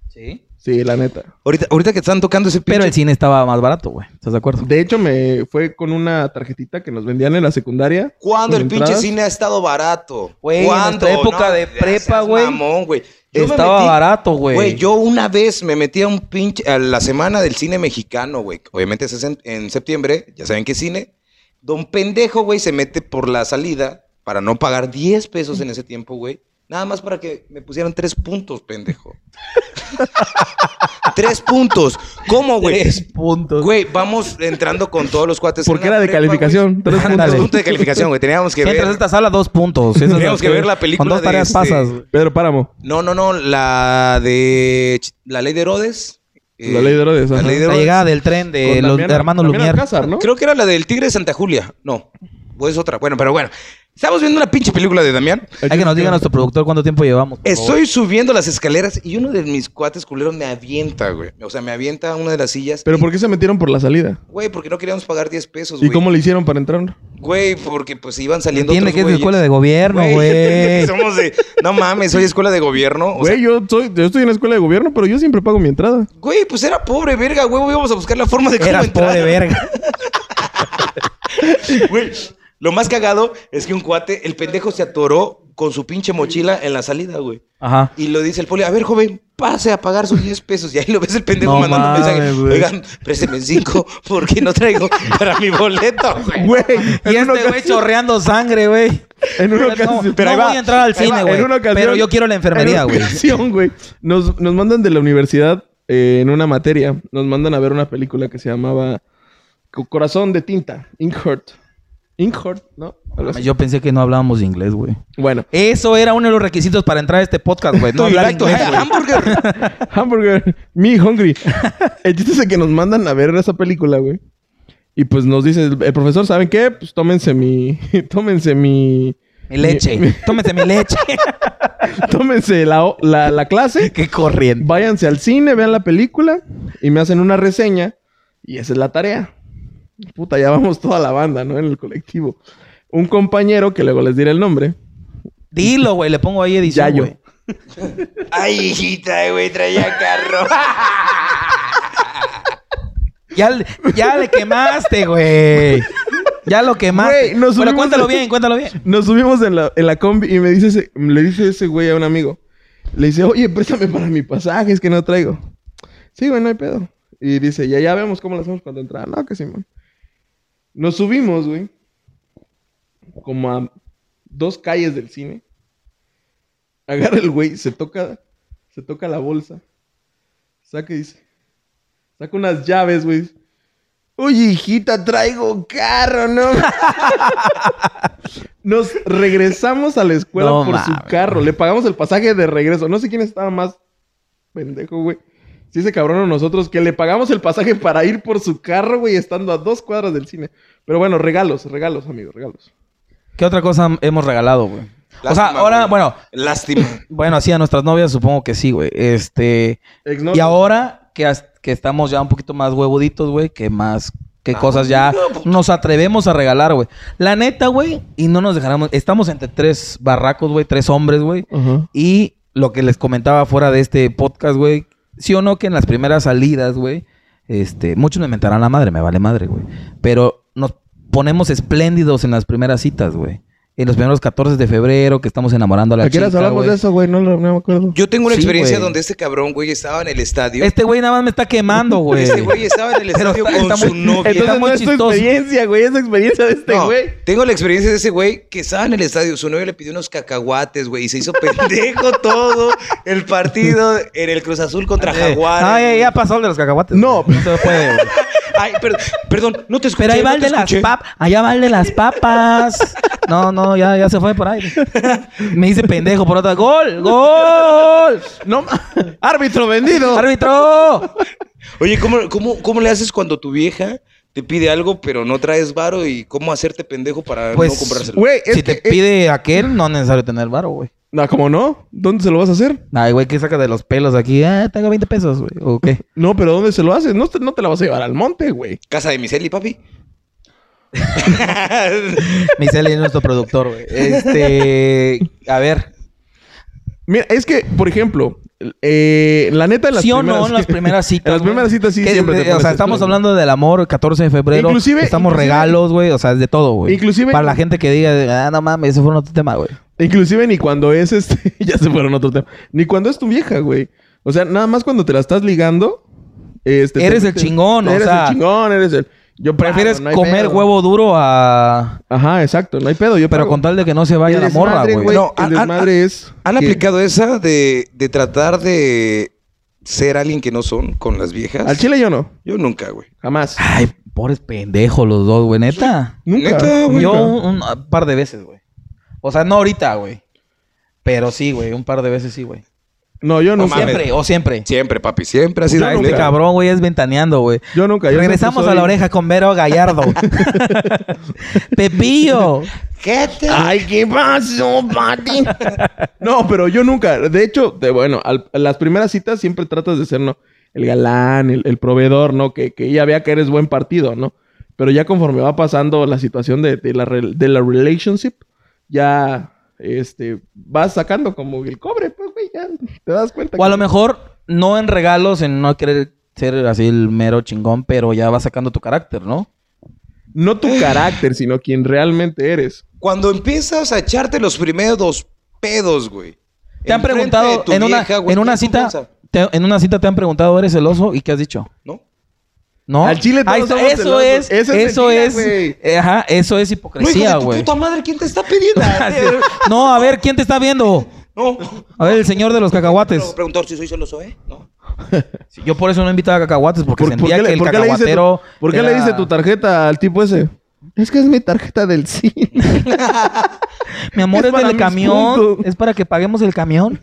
Speaker 1: Sí.
Speaker 3: Sí, la neta.
Speaker 2: Ahorita, ahorita que están tocando ese pinche...
Speaker 1: Pero el cine estaba más barato, güey. ¿Estás de acuerdo?
Speaker 3: De hecho, me fue con una tarjetita que nos vendían en la secundaria.
Speaker 2: ¿Cuándo
Speaker 3: con
Speaker 2: el pinche
Speaker 3: entradas.
Speaker 2: cine ha estado barato?
Speaker 1: Güey, en
Speaker 2: ¿Cuándo?
Speaker 1: nuestra época de
Speaker 2: ya
Speaker 1: prepa,
Speaker 2: seas
Speaker 1: güey,
Speaker 2: mamón, güey. Yo me
Speaker 1: Estaba
Speaker 2: metí-
Speaker 1: barato, güey.
Speaker 3: Pues.
Speaker 2: Güey, yo una vez me metí a un pinche. a la semana del cine mexicano, güey. Obviamente es en, en septiembre, ya saben qué cine. Don pendejo, güey, se mete por la salida para no pagar 10 pesos en ese tiempo, güey. Nada más para que me pusieran tres puntos, pendejo. tres puntos. ¿Cómo, güey?
Speaker 1: Tres puntos.
Speaker 2: Güey, vamos entrando con todos los cuates.
Speaker 3: Porque
Speaker 2: en
Speaker 3: era
Speaker 2: la
Speaker 3: de
Speaker 2: prepa,
Speaker 3: calificación.
Speaker 2: güey.
Speaker 3: Tres
Speaker 2: Ándale.
Speaker 3: puntos.
Speaker 2: Punto de calificación, güey. Teníamos que
Speaker 1: Si entras a
Speaker 2: ver.
Speaker 1: esta sala, dos puntos. Eso es
Speaker 2: Teníamos
Speaker 1: lo
Speaker 2: que ver la película
Speaker 1: Con dos
Speaker 2: de
Speaker 1: tareas
Speaker 2: este-
Speaker 1: pasas.
Speaker 3: Pedro Páramo.
Speaker 2: No, no, no. La de. Ch- La ley de Herodes. eh,
Speaker 3: La ley de Herodes,
Speaker 2: La
Speaker 3: ajá.
Speaker 2: ley de
Speaker 1: La
Speaker 2: Herodes.
Speaker 1: llegada del tren de
Speaker 3: Con
Speaker 1: eh, los
Speaker 3: Damián-
Speaker 1: hermanos
Speaker 3: Damián
Speaker 1: Lumière.
Speaker 3: Alcázar, ¿no?
Speaker 2: Creo que era la del Tigre de Santa Julia. No. O es otra. Bueno, pero bueno. Estamos viendo una pinche película de Damián.
Speaker 1: Hay que nos diga nuestro productor cuánto tiempo llevamos. por favor.
Speaker 2: Estoy subiendo las escaleras y uno de mis cuates culeros me avienta, güey. O sea, me avienta a una de las sillas.
Speaker 3: Pero
Speaker 2: y-
Speaker 3: ¿por qué se metieron por la salida?
Speaker 2: Güey, porque no queríamos pagar 10 pesos,
Speaker 3: ¿Y
Speaker 2: Pues, güey.
Speaker 3: cómo le hicieron para entrar?
Speaker 2: Güey, porque pues iban saliendo
Speaker 1: Entiende
Speaker 2: otros
Speaker 1: que es de
Speaker 2: güeyes.
Speaker 1: escuela de gobierno, güey.
Speaker 2: Somos de... No mames, soy escuela de gobierno. O sea,
Speaker 3: Güey, yo, soy, yo estoy en la escuela de gobierno, pero yo siempre pago mi entrada.
Speaker 2: güey, pues era pobre, verga, güey. Íbamos a buscar la forma de cómo
Speaker 1: Eras
Speaker 2: entrar.
Speaker 1: pobre verga.
Speaker 2: Güey, lo más cagado es que un cuate, el pendejo se atoró con su pinche mochila en la salida, güey.
Speaker 1: Ajá.
Speaker 2: Y lo dice el poli, a ver, joven, pase a pagar sus 10 pesos. Y ahí lo ves el pendejo
Speaker 1: No
Speaker 2: mandando un mensaje.
Speaker 1: mames, güey.
Speaker 2: Oigan, présteme 5 porque no traigo para mi boleto, güey.
Speaker 3: Güey,
Speaker 1: Y
Speaker 3: en una
Speaker 1: este güey
Speaker 3: ocasión-
Speaker 1: chorreando sangre, güey.
Speaker 3: En una
Speaker 1: No,
Speaker 3: ocasión.
Speaker 1: no voy a entrar al
Speaker 3: Ahí va,
Speaker 1: cine,
Speaker 3: en
Speaker 1: güey.
Speaker 3: una ocasión-
Speaker 1: Pero yo quiero la enfermería,
Speaker 3: en una
Speaker 1: güey.
Speaker 3: ocasión, güey. Nos, nos mandan de la universidad eh, en una materia. Nos mandan a ver una película que se llamaba Co- Corazón de tinta. Inkheart. Inkheart, ¿no? Algo así.
Speaker 1: Ah, Yo pensé que no hablábamos inglés, güey.
Speaker 3: Bueno,
Speaker 1: Eso era uno de los requisitos para entrar a este podcast, güey. No
Speaker 2: No,
Speaker 1: hablar
Speaker 2: like
Speaker 1: inglés,
Speaker 2: to have
Speaker 1: güey.
Speaker 2: hamburger.
Speaker 3: hamburger, me hungry. El chiste es que nos mandan a ver esa película, güey. Y pues nos dice el, el profesor, ¿saben qué? Pues tómense mi. Tómense mi.
Speaker 1: Mi leche.
Speaker 3: mi-
Speaker 1: Tómese mi leche.
Speaker 3: tómense la, o- la, la clase.
Speaker 1: Qué corriente.
Speaker 3: váyanse al cine, vean la película y me hacen una reseña y esa es la tarea. Puta, ya vamos toda la banda, ¿no? En el colectivo. Un compañero, que luego les diré el nombre,
Speaker 1: Dilo, güey. Le pongo ahí edición,
Speaker 3: Yayo.
Speaker 1: güey.
Speaker 2: Ay, hijita, güey, traía carro.
Speaker 1: Ya, le- ya le quemaste, güey. Ya lo quemaste.
Speaker 3: Güey, nos
Speaker 1: Pero
Speaker 3: subimos
Speaker 1: cuéntalo
Speaker 3: a-
Speaker 1: bien, cuéntalo bien.
Speaker 3: nos subimos en la, en la combi y me dice ese- le dice ese güey a un amigo, le dice, oye, préstame para mi pasaje, es que no traigo. Sí, güey, no hay pedo. Y dice, ya, ya vemos cómo lo hacemos cuando entrar. No, que Simón. Nos subimos, güey, como a dos calles del cine. Agarra el güey, se toca, se toca la bolsa. Saca y dice, saca unas llaves, güey. Oye, hijita, traigo carro, ¿no? Nos regresamos a la escuela
Speaker 1: No
Speaker 3: por su
Speaker 1: mames.
Speaker 3: carro. Le pagamos el pasaje de regreso. No sé quién estaba más pendejo, güey. Si ese cabrón o nosotros que le pagamos el pasaje para ir por su carro, güey, estando a dos cuadras del cine. Pero bueno, regalos, regalos, amigo, regalos.
Speaker 1: ¿Qué otra cosa hemos regalado, güey? O sea,
Speaker 2: Lástima,
Speaker 1: ahora,
Speaker 2: güey.
Speaker 1: bueno,
Speaker 2: Lástima.
Speaker 1: bueno, así a nuestras novias supongo que sí, güey. Este,
Speaker 3: Exnovios.
Speaker 1: y ahora que, as- que estamos ya un poquito más huevuditos, güey, que más, qué
Speaker 2: Ah,
Speaker 1: cosas ya nos atrevemos a regalar, güey. La neta, güey, y no nos dejaremos, estamos entre tres barracos, güey, tres hombres, güey.
Speaker 3: Ajá.
Speaker 1: Y lo que les comentaba fuera de este podcast, güey, sí o no que en las primeras salidas, güey, este, muchos me mentarán la madre, me vale madre, güey. Pero nos ponemos espléndidos en las primeras citas, güey. En los primeros 14 de febrero que estamos enamorando a la
Speaker 3: ¿A qué
Speaker 1: chica,
Speaker 3: horas hablamos
Speaker 1: güey.
Speaker 3: de eso, güey? No, lo- no me acuerdo.
Speaker 2: Yo tengo una
Speaker 1: Sí,
Speaker 2: experiencia
Speaker 1: güey.
Speaker 2: donde este cabrón, güey, estaba en el estadio.
Speaker 1: Este güey nada más me está quemando, güey.
Speaker 2: Este güey estaba en el
Speaker 1: Pero
Speaker 2: estadio
Speaker 1: está-
Speaker 2: con
Speaker 1: está
Speaker 2: su
Speaker 1: muy-
Speaker 2: novia.
Speaker 1: está
Speaker 3: Entonces
Speaker 1: muy
Speaker 3: no es tu
Speaker 1: chistoso.
Speaker 3: experiencia, güey. Es la experiencia de este
Speaker 2: No,
Speaker 3: güey.
Speaker 2: tengo la experiencia de ese güey que estaba en el estadio. Su novio le pidió unos cacahuates, güey, y se hizo pendejo todo el partido en el Cruz Azul contra Jaguares.
Speaker 1: Ah, ya, ya pasó el de los cacahuates.
Speaker 3: No,
Speaker 1: güey. no se puede, güey.
Speaker 2: Ay, perdón, perdón, no te escuché.
Speaker 1: Pero ahí
Speaker 2: no
Speaker 1: va el
Speaker 2: te
Speaker 1: de las
Speaker 2: escuché.
Speaker 1: papas. Allá va el de las papas. No, no, ya, ya se fue por ahí. Me dice pendejo por otra. ¡Gol! ¡Gol!
Speaker 3: No, árbitro vendido.
Speaker 1: ¡Árbitro!
Speaker 2: Oye, ¿cómo, cómo, ¿cómo le haces cuando tu vieja te pide algo pero no traes varo y cómo hacerte pendejo para
Speaker 1: Pues,
Speaker 2: no comprárselo?
Speaker 3: Güey, es
Speaker 1: si
Speaker 3: que-
Speaker 1: te pide aquel, no es necesario tener varo, güey.
Speaker 3: No, ¿cómo no? ¿Dónde se lo vas a hacer?
Speaker 1: Ay, güey, ¿qué sacas de los pelos aquí? Ah, tengo 20 pesos, güey. ¿O qué?
Speaker 3: No, pero ¿dónde se lo haces? No te, no te la vas a llevar al monte, güey.
Speaker 2: Casa de Miseli, papi.
Speaker 1: Michelle es nuestro productor, güey. Este. A ver.
Speaker 3: Mira, es que, por ejemplo, Eh, la neta, en las
Speaker 1: Sí o
Speaker 3: primeras
Speaker 1: no, en las primeras citas.
Speaker 3: en las
Speaker 1: güey.
Speaker 3: primeras citas sí,
Speaker 1: Que,
Speaker 3: siempre
Speaker 1: eh,
Speaker 3: te
Speaker 1: O
Speaker 3: pones
Speaker 1: sea, estamos
Speaker 3: esto.
Speaker 1: hablando del amor, 14 de febrero.
Speaker 3: Inclusive-
Speaker 1: Estamos
Speaker 3: inclusive-
Speaker 1: regalos, güey. O sea, es de todo, güey.
Speaker 3: Inclusive-
Speaker 1: Para la gente que diga, ah, no mames, ese fue otro tema, güey.
Speaker 3: Inclusive ni cuando es este... ya se fueron a otro tema. Ni cuando es tu vieja, güey. O sea, nada más cuando te la estás ligando... Este, te
Speaker 1: Eres el
Speaker 3: metes-
Speaker 1: chingón, o
Speaker 3: Eres
Speaker 1: sea,
Speaker 3: el chingón, eres el... Yo pago,
Speaker 1: Prefieres
Speaker 3: no hay
Speaker 1: comer
Speaker 3: pedo.
Speaker 1: huevo duro a.
Speaker 3: Ajá, exacto. No hay pedo. Yo
Speaker 1: Pero
Speaker 3: pago.
Speaker 1: con tal de que no se vaya
Speaker 3: El
Speaker 1: la morra,
Speaker 3: desmadre,
Speaker 1: güey.
Speaker 2: No,
Speaker 3: el
Speaker 2: han-
Speaker 3: desmadre es...
Speaker 2: ¿Han
Speaker 3: que-
Speaker 2: aplicado esa de, de tratar de ser alguien que no son con las viejas?
Speaker 3: Al chile yo no.
Speaker 2: Yo nunca, güey.
Speaker 3: Jamás.
Speaker 1: Ay, pobres pendejos los dos, güey, neta.
Speaker 3: Nunca.
Speaker 2: Neta, güey.
Speaker 3: nunca.
Speaker 1: Yo un, un par de veces, güey. O sea, no ahorita, güey. Pero sí, güey, un par de veces sí, güey.
Speaker 3: No, yo
Speaker 2: No
Speaker 1: O
Speaker 3: nunca.
Speaker 2: mames.
Speaker 1: siempre, o siempre.
Speaker 2: Siempre, papi, siempre ha
Speaker 1: Ay,
Speaker 2: sido
Speaker 1: este
Speaker 2: neta.
Speaker 1: cabrón, güey, es ventaneando, güey.
Speaker 3: Yo nunca. yo
Speaker 1: Regresamos
Speaker 3: siempre
Speaker 1: a la
Speaker 3: soy-
Speaker 1: oreja con Vero Gallardo. Pepillo.
Speaker 2: ¿Qué te-
Speaker 3: Ay, ¿qué pasó, Pati? no, pero yo nunca. De hecho, de, bueno, al- a las primeras citas siempre tratas de ser, ¿no? El galán, el, el proveedor, ¿no? Que, que ella vea que eres buen partido, ¿no? Pero ya conforme va pasando la situación de, de la, rel- de la relationship, ya este, vas sacando como el cobre, pues, güey, ya te das cuenta.
Speaker 1: O a
Speaker 3: que-
Speaker 1: lo mejor, no en regalos, en no querer ser así el mero chingón, pero ya vas sacando tu carácter, ¿no?
Speaker 3: No tu carácter, sino quien realmente eres.
Speaker 2: Cuando empiezas a echarte los primeros dos pedos, güey.
Speaker 1: Te han
Speaker 2: Enfrente de
Speaker 1: preguntado
Speaker 2: tu
Speaker 1: en una,
Speaker 2: vieja, güey,
Speaker 1: en una
Speaker 2: ¿qué
Speaker 1: cita.
Speaker 2: confianza?
Speaker 1: te- en una cita te han preguntado, ¿eres celoso? ¿Y qué has dicho?
Speaker 2: ¿No?
Speaker 1: ¿No?
Speaker 3: Al chile todos
Speaker 1: Ahí está,
Speaker 3: somos
Speaker 1: eso
Speaker 3: celosos.
Speaker 1: es,
Speaker 3: Eso
Speaker 1: eso
Speaker 3: es
Speaker 1: es,
Speaker 3: mentira, güey.
Speaker 1: eh, ajá, eso es
Speaker 2: No, hijo
Speaker 1: hipocresía,
Speaker 2: de tu
Speaker 1: güey.
Speaker 2: puta madre, ¿quién te está pidiendo?
Speaker 1: no, a ver, ¿quién te está viendo?
Speaker 2: no.
Speaker 1: A ver, el señor de los
Speaker 2: Pero
Speaker 3: Pues-
Speaker 1: cacahuates.
Speaker 2: preguntar si soy celoso, ¿eh? No.
Speaker 1: Yo por eso no invitaba a cacahuates, porque
Speaker 3: ¿Por, por
Speaker 1: sentía
Speaker 3: qué,
Speaker 1: que
Speaker 3: le-
Speaker 1: el
Speaker 3: por qué le dice
Speaker 1: cacahuatero...
Speaker 3: tu, por qué le
Speaker 1: era-
Speaker 3: dice tu tarjeta al tipo ese? Es que es mi tarjeta del cine.
Speaker 1: Mi amor,
Speaker 3: Es
Speaker 1: es,
Speaker 3: para
Speaker 1: del
Speaker 3: mis
Speaker 1: camión.
Speaker 3: puntos.
Speaker 1: Es para que paguemos el camión.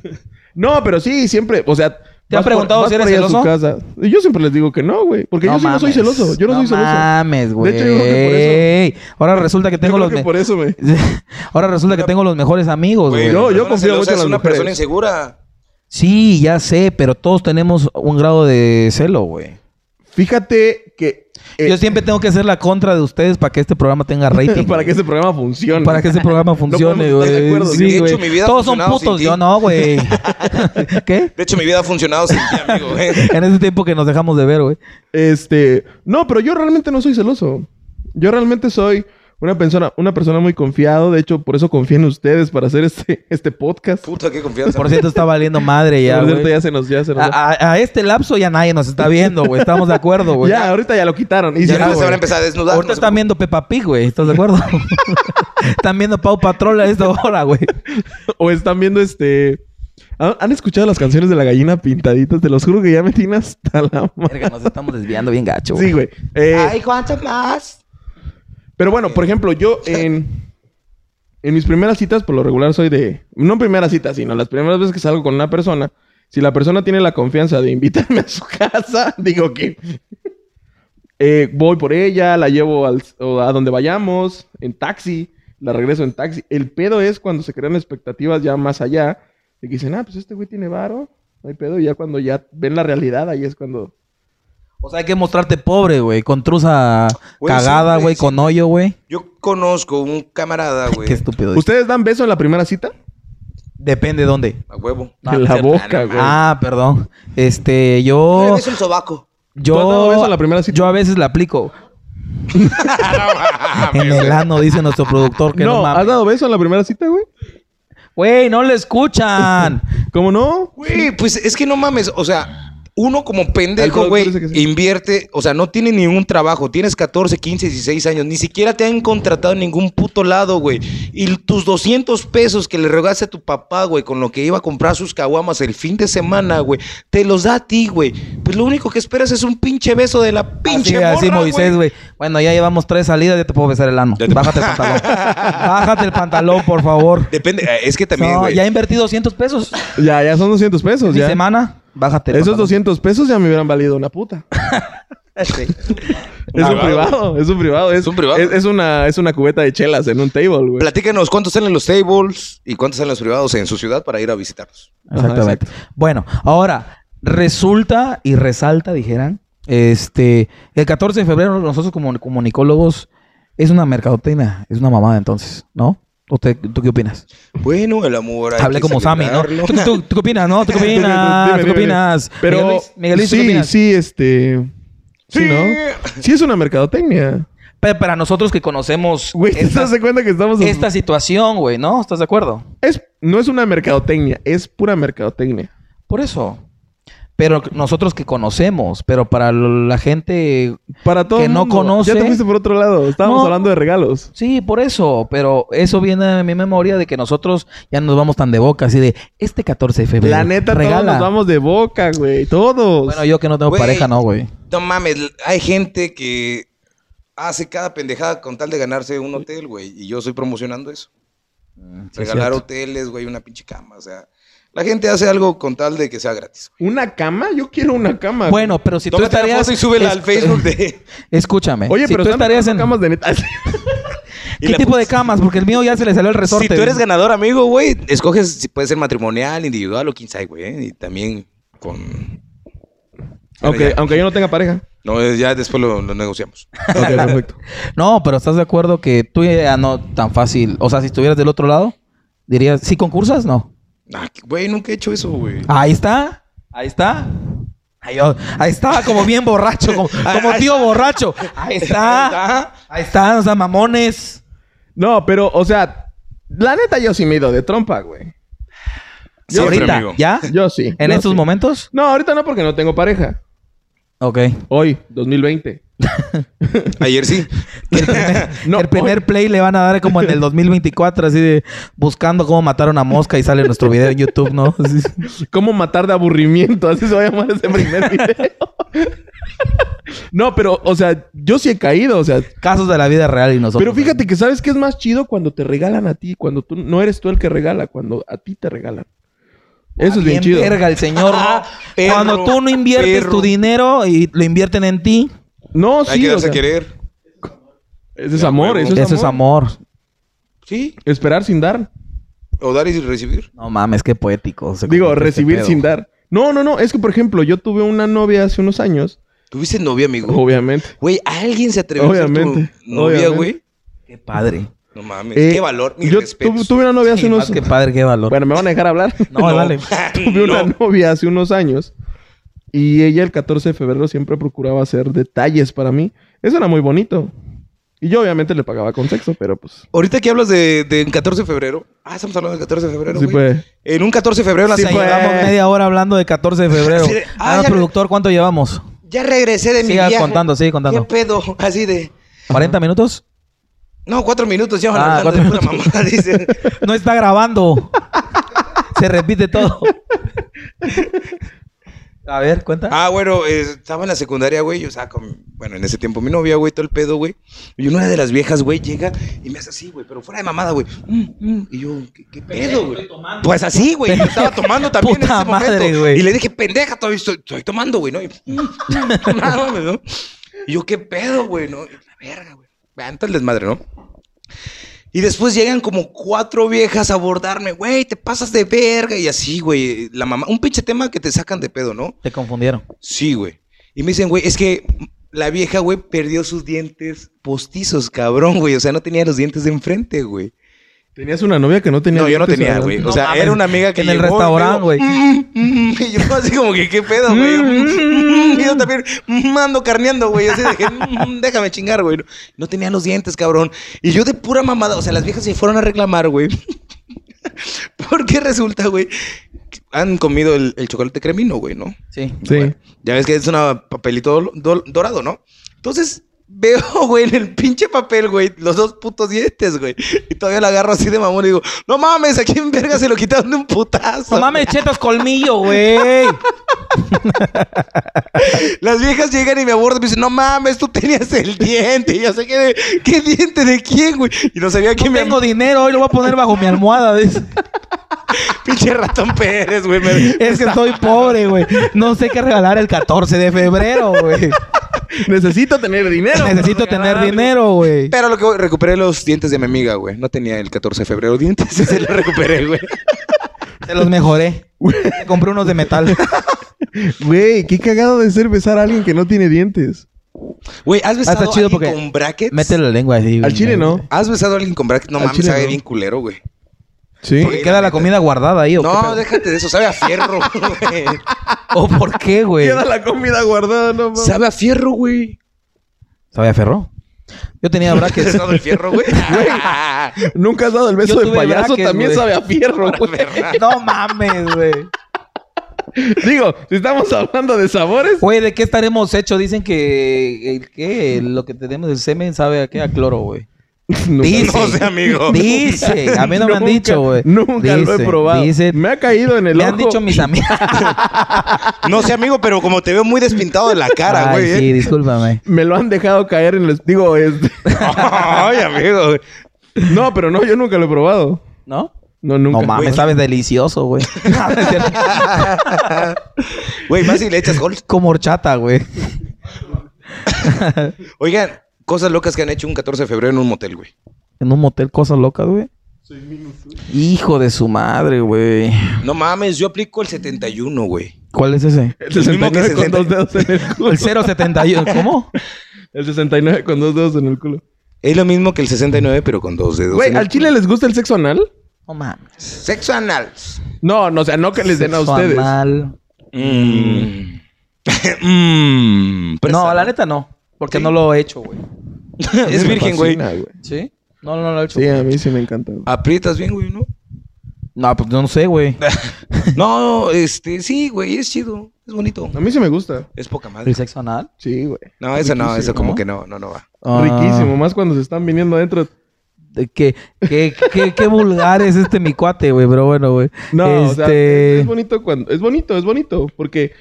Speaker 3: No, pero sí, siempre, o sea...
Speaker 1: ¿Te han
Speaker 3: vas
Speaker 1: preguntado
Speaker 3: por-
Speaker 1: si
Speaker 3: vas
Speaker 1: eres
Speaker 3: por ella a su casa. Y Yo siempre les digo que no, güey. Porque yo sí no soy
Speaker 1: mames.
Speaker 3: celoso. Yo no, soy celoso.
Speaker 1: No mames, güey.
Speaker 3: De hecho, yo creo que
Speaker 1: Ahora resulta que
Speaker 3: Yo
Speaker 1: tengo
Speaker 3: creo
Speaker 1: los...
Speaker 3: que
Speaker 1: me-
Speaker 3: por eso, güey.
Speaker 1: Ahora resulta que tengo los mejores amigos, güey.
Speaker 3: Pues,
Speaker 2: la
Speaker 3: yo- yo
Speaker 2: persona
Speaker 3: confío mucho
Speaker 2: celosa
Speaker 3: en las
Speaker 2: Es una
Speaker 3: mujeres.
Speaker 2: persona insegura.
Speaker 1: Sí, ya sé, pero todos tenemos un grado de celo, güey.
Speaker 3: Fíjate que... eh,
Speaker 1: Yo siempre tengo que hacer la contra de ustedes para que este programa tenga rating.
Speaker 3: para
Speaker 1: güey.
Speaker 3: que este programa funcione.
Speaker 1: Para que este programa funcione,
Speaker 3: podemos estar de
Speaker 1: güey.
Speaker 3: acuerdo.
Speaker 1: Sí,
Speaker 2: De hecho,
Speaker 1: güey.
Speaker 2: mi vida ha
Speaker 1: Todos son
Speaker 2: funcionado sin
Speaker 1: putos,
Speaker 2: ti.
Speaker 1: yo no, güey. ¿Qué?
Speaker 2: De hecho, mi vida ha funcionado sin ti, amigo. ¿eh?
Speaker 1: En ese tiempo que nos dejamos de ver, güey.
Speaker 3: Este... No, pero yo realmente no soy celoso. Yo realmente soy una persona, una persona muy confiado. De hecho, por eso confío en ustedes para hacer este, este podcast.
Speaker 2: Puta, qué confianza.
Speaker 1: Por cierto, está valiendo madre ya,
Speaker 3: Por cierto,
Speaker 1: güey.
Speaker 3: ya se nos... Ya, se nos
Speaker 1: A, a- a este lapso ya nadie nos está viendo, güey. Estamos de acuerdo, güey.
Speaker 3: ya, ahorita ya lo quitaron. Y
Speaker 2: Ya
Speaker 3: si
Speaker 2: no
Speaker 3: no,
Speaker 2: se van a empezar a desnudar.
Speaker 1: Ahorita
Speaker 2: no se
Speaker 1: están viendo Peppa Pig, güey. ¿Estás de acuerdo? están viendo Pau Patrol a esta hora, güey.
Speaker 3: O están viendo este. ¿Han han escuchado las canciones de la gallina pintaditas? Te los juro que ya me tienen hasta la madre.
Speaker 1: Verga, nos estamos desviando bien gacho, güey.
Speaker 3: Sí, güey. Eh,
Speaker 2: ¿cuánto más?
Speaker 3: pero bueno, por ejemplo, yo en. En mis primeras citas, por lo regular, soy de. No primeras citas, sino las primeras veces que salgo con una persona. Si la persona tiene la confianza de invitarme a su casa, digo que. eh, voy por ella, la llevo al, o a donde vayamos, en taxi, la regreso en taxi. El pedo es cuando se crean expectativas ya más allá, de que dicen, ah, pues este güey tiene varo, no hay pedo, y ya cuando ya ven la realidad, ahí es cuando...
Speaker 1: O sea, hay que mostrarte pobre, güey. Con truza
Speaker 2: Güey,
Speaker 1: cagada,
Speaker 2: siempre,
Speaker 1: güey. Con hoyo, güey.
Speaker 2: Yo conozco un camarada, güey.
Speaker 1: Qué estúpido.
Speaker 3: ¿Ustedes dan beso en la primera cita?
Speaker 1: Depende dónde.
Speaker 2: A huevo.
Speaker 1: No,
Speaker 3: en
Speaker 1: no
Speaker 3: la
Speaker 1: es cierto.
Speaker 3: boca, güey.
Speaker 1: Ah, perdón. Este,
Speaker 3: Oh.
Speaker 1: yo.
Speaker 2: Es el sobaco.
Speaker 1: Yo,
Speaker 3: ¿Tú has dado beso a la primera cita?
Speaker 1: yo a veces la aplico. en el ano, dice nuestro productor que no,
Speaker 3: no, ¿has
Speaker 1: mames.
Speaker 3: dado beso en la primera cita, güey?
Speaker 1: Güey, no le escuchan.
Speaker 3: ¿Cómo no?
Speaker 2: Güey, pues es que no mames, o sea, uno como
Speaker 3: El
Speaker 2: pendejo,
Speaker 3: productor
Speaker 2: güey,
Speaker 3: dice que sí.
Speaker 2: invierte, o sea, no tiene ningún trabajo, tienes 14, 15, 16 años, ni siquiera te han contratado en ningún puto lado, güey. Y tus 200 pesos que le regaste a tu papá, güey, con lo que iba a comprar sus caguamas el fin de semana, güey, te los da a ti, güey. Pues lo único que esperas es un pinche beso de la pinche
Speaker 1: así, así
Speaker 2: morra,
Speaker 1: Moisés, güey. Bueno, ya llevamos tres salidas, ya te puedo besar el ano. Bájate el pantalón. Bájate el pantalón, por favor.
Speaker 2: Depende, eh, es que también,
Speaker 1: No,
Speaker 2: güey.
Speaker 1: ya invertí 200 pesos.
Speaker 3: Ya, ya son 200 pesos,
Speaker 1: Mi
Speaker 3: Pues ya.
Speaker 1: semana, bájate. el
Speaker 3: Esos
Speaker 1: pantalón.
Speaker 3: 200 pesos ya me hubieran valido una puta. Es un
Speaker 2: Privado.
Speaker 3: privado, es un privado. Es,
Speaker 2: Es un privado.
Speaker 3: Es, es una, es una cubeta de chelas en un table, güey.
Speaker 2: Platícanos cuántos salen los tables y cuántos salen los privados en su ciudad para ir a visitarlos.
Speaker 1: Exactamente. Bueno, ahora, resulta y resalta, dijeran, este, el 14 de febrero nosotros como comunicólogos es una mercadotecnia, es una mamada entonces, ¿no? ¿O te- tú qué opinas?
Speaker 2: Bueno, el amor. hay
Speaker 1: Hablé
Speaker 2: que
Speaker 1: como Sammy, ¿no?
Speaker 2: celebrarlo.
Speaker 1: ¿Tú, tú, tú qué opinas, no? ¿Tú qué opinas?
Speaker 3: Dime,
Speaker 1: ¿Tú qué
Speaker 3: dime,
Speaker 1: opinas?
Speaker 3: Pero
Speaker 1: Miguel Luis, Miguel Luis, ¿tú qué
Speaker 3: sí,
Speaker 1: opinas?
Speaker 3: sí, este... Sí,
Speaker 2: Sí.
Speaker 3: ¿no? Sí es una mercadotecnia.
Speaker 1: Pero para nosotros que conocemos
Speaker 3: Güey, ¿te
Speaker 1: esta,
Speaker 3: das de cuenta que estamos...
Speaker 1: esta situación, güey, ¿no? ¿Estás de acuerdo?
Speaker 3: Es, no es una mercadotecnia, es pura mercadotecnia.
Speaker 1: Por eso. Pero nosotros que conocemos, pero para lo- la gente...
Speaker 3: Para todo
Speaker 1: Que
Speaker 3: el
Speaker 1: no
Speaker 3: mundo.
Speaker 1: conoce.
Speaker 3: Ya te fuiste por otro lado. Estábamos
Speaker 1: No.
Speaker 3: hablando de regalos.
Speaker 1: Sí, por eso. Pero eso viene a mi memoria de que nosotros ya nos vamos tan de boca, así de, este 14 de febrero,
Speaker 3: La neta, todos
Speaker 1: regala.
Speaker 3: nos vamos de boca, güey. Todos.
Speaker 1: Bueno, yo que no tengo
Speaker 2: Güey.
Speaker 1: pareja, no, güey.
Speaker 2: No mames, hay gente que hace cada pendejada con tal de ganarse un hotel, güey. Y yo estoy promocionando eso.
Speaker 1: Sí, es
Speaker 2: Regalar
Speaker 1: cierto.
Speaker 2: hoteles, güey, una pinche cama. O sea, la gente hace algo con tal de que sea gratis.
Speaker 3: ¿Una cama? Yo quiero una cama. güey.
Speaker 1: Bueno, pero si tú
Speaker 2: Tómate la
Speaker 1: estarías...
Speaker 2: foto y súbela al
Speaker 1: es-
Speaker 2: Facebook de...
Speaker 1: Escúchame.
Speaker 3: Oye,
Speaker 1: si
Speaker 3: pero
Speaker 1: tú
Speaker 3: están
Speaker 1: estarías en...
Speaker 3: regalando camas de neta.
Speaker 2: y
Speaker 1: ¿Qué
Speaker 2: la
Speaker 1: tipo
Speaker 2: pones-
Speaker 1: de camas? Porque el mío ya se le salió el resorte.
Speaker 2: Si tú eres
Speaker 1: güey.
Speaker 2: ganador, amigo, güey, escoges si puede ser matrimonial, individual o quince, güey. ¿eh? Y también con... Pero
Speaker 3: aunque,
Speaker 2: ya.
Speaker 3: aunque yo no tenga pareja.
Speaker 2: No, eh, ya después lo, lo negociamos.
Speaker 3: Ok, perfecto.
Speaker 1: No, pero ¿estás de acuerdo que tú ya no tan fácil? O sea, si estuvieras del otro lado, dirías, ¿sí concursas? No.
Speaker 2: Ah, qué- Güey, nunca he hecho eso, güey.
Speaker 1: Ahí está. Ahí está. Ahí, oh, ahí estaba como bien borracho, como, como tío borracho. Ahí
Speaker 2: Ah,
Speaker 1: está. Ahí está, o sea, mamones.
Speaker 3: No, pero, o sea, la neta yo sí me he ido de trompa, güey.
Speaker 1: Yo
Speaker 2: Siempre,
Speaker 1: ahorita,
Speaker 2: amigo.
Speaker 1: ¿ya?
Speaker 3: Yo sí.
Speaker 1: ¿En
Speaker 3: yo
Speaker 1: estos
Speaker 3: sí.
Speaker 1: momentos?
Speaker 3: No, ahorita no porque no tengo pareja.
Speaker 1: Ok.
Speaker 3: Hoy, 2020.
Speaker 2: Ayer sí.
Speaker 1: Que el primer,
Speaker 3: No,
Speaker 1: que el primer
Speaker 3: hoy-
Speaker 1: play le van a dar como en el 2024, así de buscando cómo matar a una mosca y sale nuestro video en YouTube, ¿no? Así-
Speaker 3: ¿Cómo matar de aburrimiento? Así se va a llamar ese primer video. no, pero, o sea, yo sí he caído, o sea.
Speaker 1: Casos de la vida real y nosotros.
Speaker 3: Pero fíjate que sabes que es más chido cuando te regalan a ti, cuando tú no eres tú el que regala, cuando a ti te regalan. Eso es bien chido.
Speaker 1: Ah, verga el señor.
Speaker 2: Ah,
Speaker 1: ¿no?
Speaker 2: perro,
Speaker 1: Cuando tú no inviertes
Speaker 2: perro.
Speaker 1: tu dinero y lo invierten en ti,
Speaker 3: No,
Speaker 2: Hay
Speaker 3: sí,
Speaker 2: que
Speaker 3: o
Speaker 2: darse
Speaker 3: sea,
Speaker 2: a querer.
Speaker 3: ese es amor, eso,
Speaker 1: eso es amor.
Speaker 2: Sí.
Speaker 3: Esperar sin dar.
Speaker 2: O dar y recibir.
Speaker 1: No mames, qué poético. se
Speaker 3: Digo,
Speaker 1: convirtió este
Speaker 3: recibir
Speaker 1: pedo.
Speaker 3: sin dar. No, no, no. Es que, por ejemplo, yo tuve una novia hace unos años.
Speaker 2: ¿Tuviste novia, amigo?
Speaker 3: Obviamente.
Speaker 2: Güey, ¿alguien se atrevió a ser
Speaker 3: Obviamente,
Speaker 2: tu novia,
Speaker 3: obviamente.
Speaker 2: güey?
Speaker 1: Qué padre.
Speaker 2: No mames.
Speaker 3: Eh,
Speaker 2: qué valor, mi
Speaker 3: Yo
Speaker 2: respeto.
Speaker 3: tuve, tuve una novia hace
Speaker 1: Sí, más
Speaker 3: unos...
Speaker 1: que padre, qué valor.
Speaker 3: Bueno, ¿me van a dejar hablar?
Speaker 1: no, dale.
Speaker 3: tuve una novia hace unos años. Y ella el 14 de febrero siempre procuraba hacer detalles para mí. Eso era muy bonito. Y yo obviamente le pagaba con sexo, pero pues...
Speaker 2: Ahorita que hablas de, de 14 de febrero. Ah, estamos hablando del 14 de febrero,
Speaker 3: Sí
Speaker 2: güey.
Speaker 3: fue.
Speaker 2: En un 14 de febrero la
Speaker 1: O sea,
Speaker 2: señora-
Speaker 1: llevamos
Speaker 3: pues.
Speaker 1: media hora hablando de 14 de febrero.
Speaker 2: Sí, ah,
Speaker 1: Ah, no,
Speaker 2: ya-
Speaker 1: productor, ¿cuánto llevamos?
Speaker 2: Ya regresé de mi
Speaker 1: Siga
Speaker 2: viaje.
Speaker 1: contando, sigue contando.
Speaker 2: ¿Qué pedo? Así de...
Speaker 1: ¿40 minutos?
Speaker 2: No, cuatro minutos ya van
Speaker 1: Ah,
Speaker 2: hablando de
Speaker 1: cuatro
Speaker 2: pura mamada, dice.
Speaker 1: No está grabando. Se repite todo. A ver, cuenta.
Speaker 2: Ah, bueno, eh, estaba en la secundaria, güey. Yo estaba con, bueno, en ese tiempo mi novia, güey, todo el pedo, güey. Y una de las viejas, güey, llega y me hace así, güey, pero fuera de mamada, güey. Mm, mm. Y yo, ¿qué, qué pedo, güey? Pues así, güey. Yo estaba tomando también en
Speaker 1: Puta
Speaker 2: ese momento.
Speaker 1: madre, güey.
Speaker 2: Y le dije, pendeja, todavía estoy, estoy tomando, güey, ¿no? Y, mm, mm, no mames, ¿no? Y yo, ¿qué pedo, güey? ¿No? Y, la verga, güey. Antes el desmadre, ¿no? Y después llegan como cuatro viejas a abordarme, güey, te pasas de verga. Y así, güey, la mamá, un pinche tema que te sacan de pedo, ¿no?
Speaker 1: Te confundieron.
Speaker 2: Sí, güey. Y me dicen, güey, es que la vieja, güey, perdió sus dientes postizos, cabrón, güey. O sea, no tenía los dientes de enfrente, güey.
Speaker 3: ¿Tenías una novia que no tenía...
Speaker 2: No, yo no
Speaker 3: dientes
Speaker 2: tenía,
Speaker 3: adelante?
Speaker 2: güey. O sea,
Speaker 1: mames.
Speaker 2: era una amiga que
Speaker 1: En el
Speaker 2: llegó y me
Speaker 1: restaurante,
Speaker 2: dijo,
Speaker 1: güey.
Speaker 2: "Mm, mm", Y yo así como que, ¿qué pedo, güey? Mm, mm, Y yo también mm, ando carneando, güey. Así de que, "Mm, déjame chingar, güey. No tenía los dientes, cabrón. Y yo de pura mamada, o sea, las viejas se fueron a reclamar, güey. Porque resulta, güey, que han comido el, el chocolate cremino, güey, ¿no?
Speaker 1: Sí.
Speaker 3: Sí.
Speaker 2: Ya ves que es una papelito dol- dol- dorado, ¿no? Entonces veo, güey, en el pinche papel, güey, los dos putos dientes, güey. Y todavía lo agarro así de mamón y digo, no mames, ¿a quién verga se lo quitaron de un putazo?
Speaker 1: No mames, chetos colmillo, güey.
Speaker 2: Las viejas llegan y me abordan y me dicen, no mames, tú tenías el diente. Y yo sé que, ¿qué diente de quién, güey? Y no sabía
Speaker 1: No
Speaker 2: quién me
Speaker 1: tengo dinero, hoy lo voy a poner bajo mi almohada. dice.
Speaker 2: pinche ratón Pérez, güey. me-
Speaker 1: Es que estoy pobre, güey. No sé qué regalar el 14 de febrero, güey.
Speaker 3: Necesito tener dinero.
Speaker 1: Necesito
Speaker 3: para
Speaker 1: tener
Speaker 3: regalar.
Speaker 1: dinero, güey.
Speaker 2: Pero lo que recuperé los dientes de mi amiga, güey. No tenía el 14 de febrero dientes, se los recuperé, güey.
Speaker 1: Te los mejoré. Te compré unos de metal.
Speaker 3: Güey, qué cagado de ser besar a alguien que no tiene dientes.
Speaker 2: Güey,
Speaker 1: Ah,
Speaker 2: ¿has besado
Speaker 4: está
Speaker 2: a
Speaker 4: chido
Speaker 2: alguien
Speaker 4: porque
Speaker 2: con brackets?
Speaker 4: Mete la lengua así.
Speaker 3: Al
Speaker 4: güey.
Speaker 3: chile no.
Speaker 2: ¿Has besado a alguien con brackets? No
Speaker 3: Al
Speaker 2: mames,
Speaker 3: chile
Speaker 2: sabe
Speaker 3: no.
Speaker 2: bien culero, güey.
Speaker 3: Sí.
Speaker 1: ¿Por qué queda la comida guardada ahí o qué
Speaker 2: No,
Speaker 1: pedo?
Speaker 2: déjate de eso, sabe a fierro, güey.
Speaker 1: ¿O por qué, güey?
Speaker 3: Queda la comida guardada, no mames.
Speaker 2: Sabe a fierro, güey.
Speaker 1: ¿Sabía ferro? Yo tenía
Speaker 2: ¿Has
Speaker 1: brackets.
Speaker 2: besado el fierro, güey?
Speaker 3: Nunca has dado el
Speaker 1: Yo
Speaker 3: beso de
Speaker 1: tuve
Speaker 3: payaso,
Speaker 1: brackets,
Speaker 3: también
Speaker 1: güey.
Speaker 3: sabe a fierro, güey.
Speaker 1: no mames, güey.
Speaker 3: Digo, si estamos hablando de sabores,
Speaker 1: Güey, ¿de qué estaremos hechos? Dicen que el que lo que tenemos el semen sabe a qué a cloro, güey.
Speaker 3: nunca-
Speaker 1: Dice,
Speaker 2: no sé, amigo.
Speaker 1: Dice, Eh, a mí no me han
Speaker 3: Nunca-
Speaker 1: dicho, güey.
Speaker 3: Nunca lo he
Speaker 1: Dice,
Speaker 3: probado.
Speaker 1: Dice,
Speaker 3: me ha caído en el
Speaker 1: me
Speaker 3: ojo.
Speaker 1: han dicho mis amigas.
Speaker 2: No sé, amigo, pero como te veo muy despintado de la cara,
Speaker 1: Ay,
Speaker 2: güey.
Speaker 1: sí,
Speaker 2: ¿eh?
Speaker 1: discúlpame.
Speaker 3: Me lo han dejado caer en los... Digo, este...
Speaker 2: Ay, amigo. güey.
Speaker 3: No, pero no, yo nunca lo he probado.
Speaker 1: ¿No?
Speaker 3: No, nunca.
Speaker 1: No mames,
Speaker 2: Güey.
Speaker 1: sabes delicioso, güey.
Speaker 2: Güey, más si le echas gol.
Speaker 1: Como horchata, güey.
Speaker 2: Oigan, cosas locas que han hecho un 14 de febrero en un motel, güey.
Speaker 1: En un motel, cosas locas, güey. Hijo de su madre, güey.
Speaker 2: No mames, yo aplico el 71, güey.
Speaker 1: ¿Cuál es ese?
Speaker 3: El
Speaker 2: El mismo que
Speaker 3: 69 con dos
Speaker 2: 60.
Speaker 3: dedos en el culo.
Speaker 1: El 071. ¿Cómo?
Speaker 3: El 69 con dos dedos en el culo.
Speaker 2: Es lo mismo que el 69, pero con dos dedos.
Speaker 3: Güey,
Speaker 2: en el-
Speaker 3: ¿al chile les gusta el sexo anal?
Speaker 1: No mames.
Speaker 2: Sexo anal.
Speaker 3: No, no, o sea, no que les den a
Speaker 1: Sexo
Speaker 3: ustedes.
Speaker 1: anal.
Speaker 2: Mmm. Mmm.
Speaker 3: Pues
Speaker 1: No, la neta no. Porque no lo he hecho, güey.
Speaker 2: Es virgen, güey.
Speaker 3: Fascina,
Speaker 1: ¿Sí? No, no, no lo he hecho.
Speaker 3: Sí, a mí sí me encanta. güey.
Speaker 2: Aprietas bien, güey, ¿no?
Speaker 1: No, pues no sé, güey.
Speaker 2: No, este, sí, güey, es chido. Es bonito.
Speaker 3: A mí sí me gusta.
Speaker 2: Es poca madre.
Speaker 1: ¿El sexo anal?
Speaker 3: Sí, güey.
Speaker 2: No, eso no, eso como
Speaker 1: ¿no?
Speaker 2: que no, no, no va.
Speaker 1: Ah,
Speaker 3: Riquísimo, más cuando se están viniendo adentro.
Speaker 1: de Qué, qué, qué, qué vulgar es este mi cuate, güey. Pero bueno, güey.
Speaker 3: No, o sea,
Speaker 1: Este,
Speaker 3: es bonito cuando... Es bonito, es bonito. Porque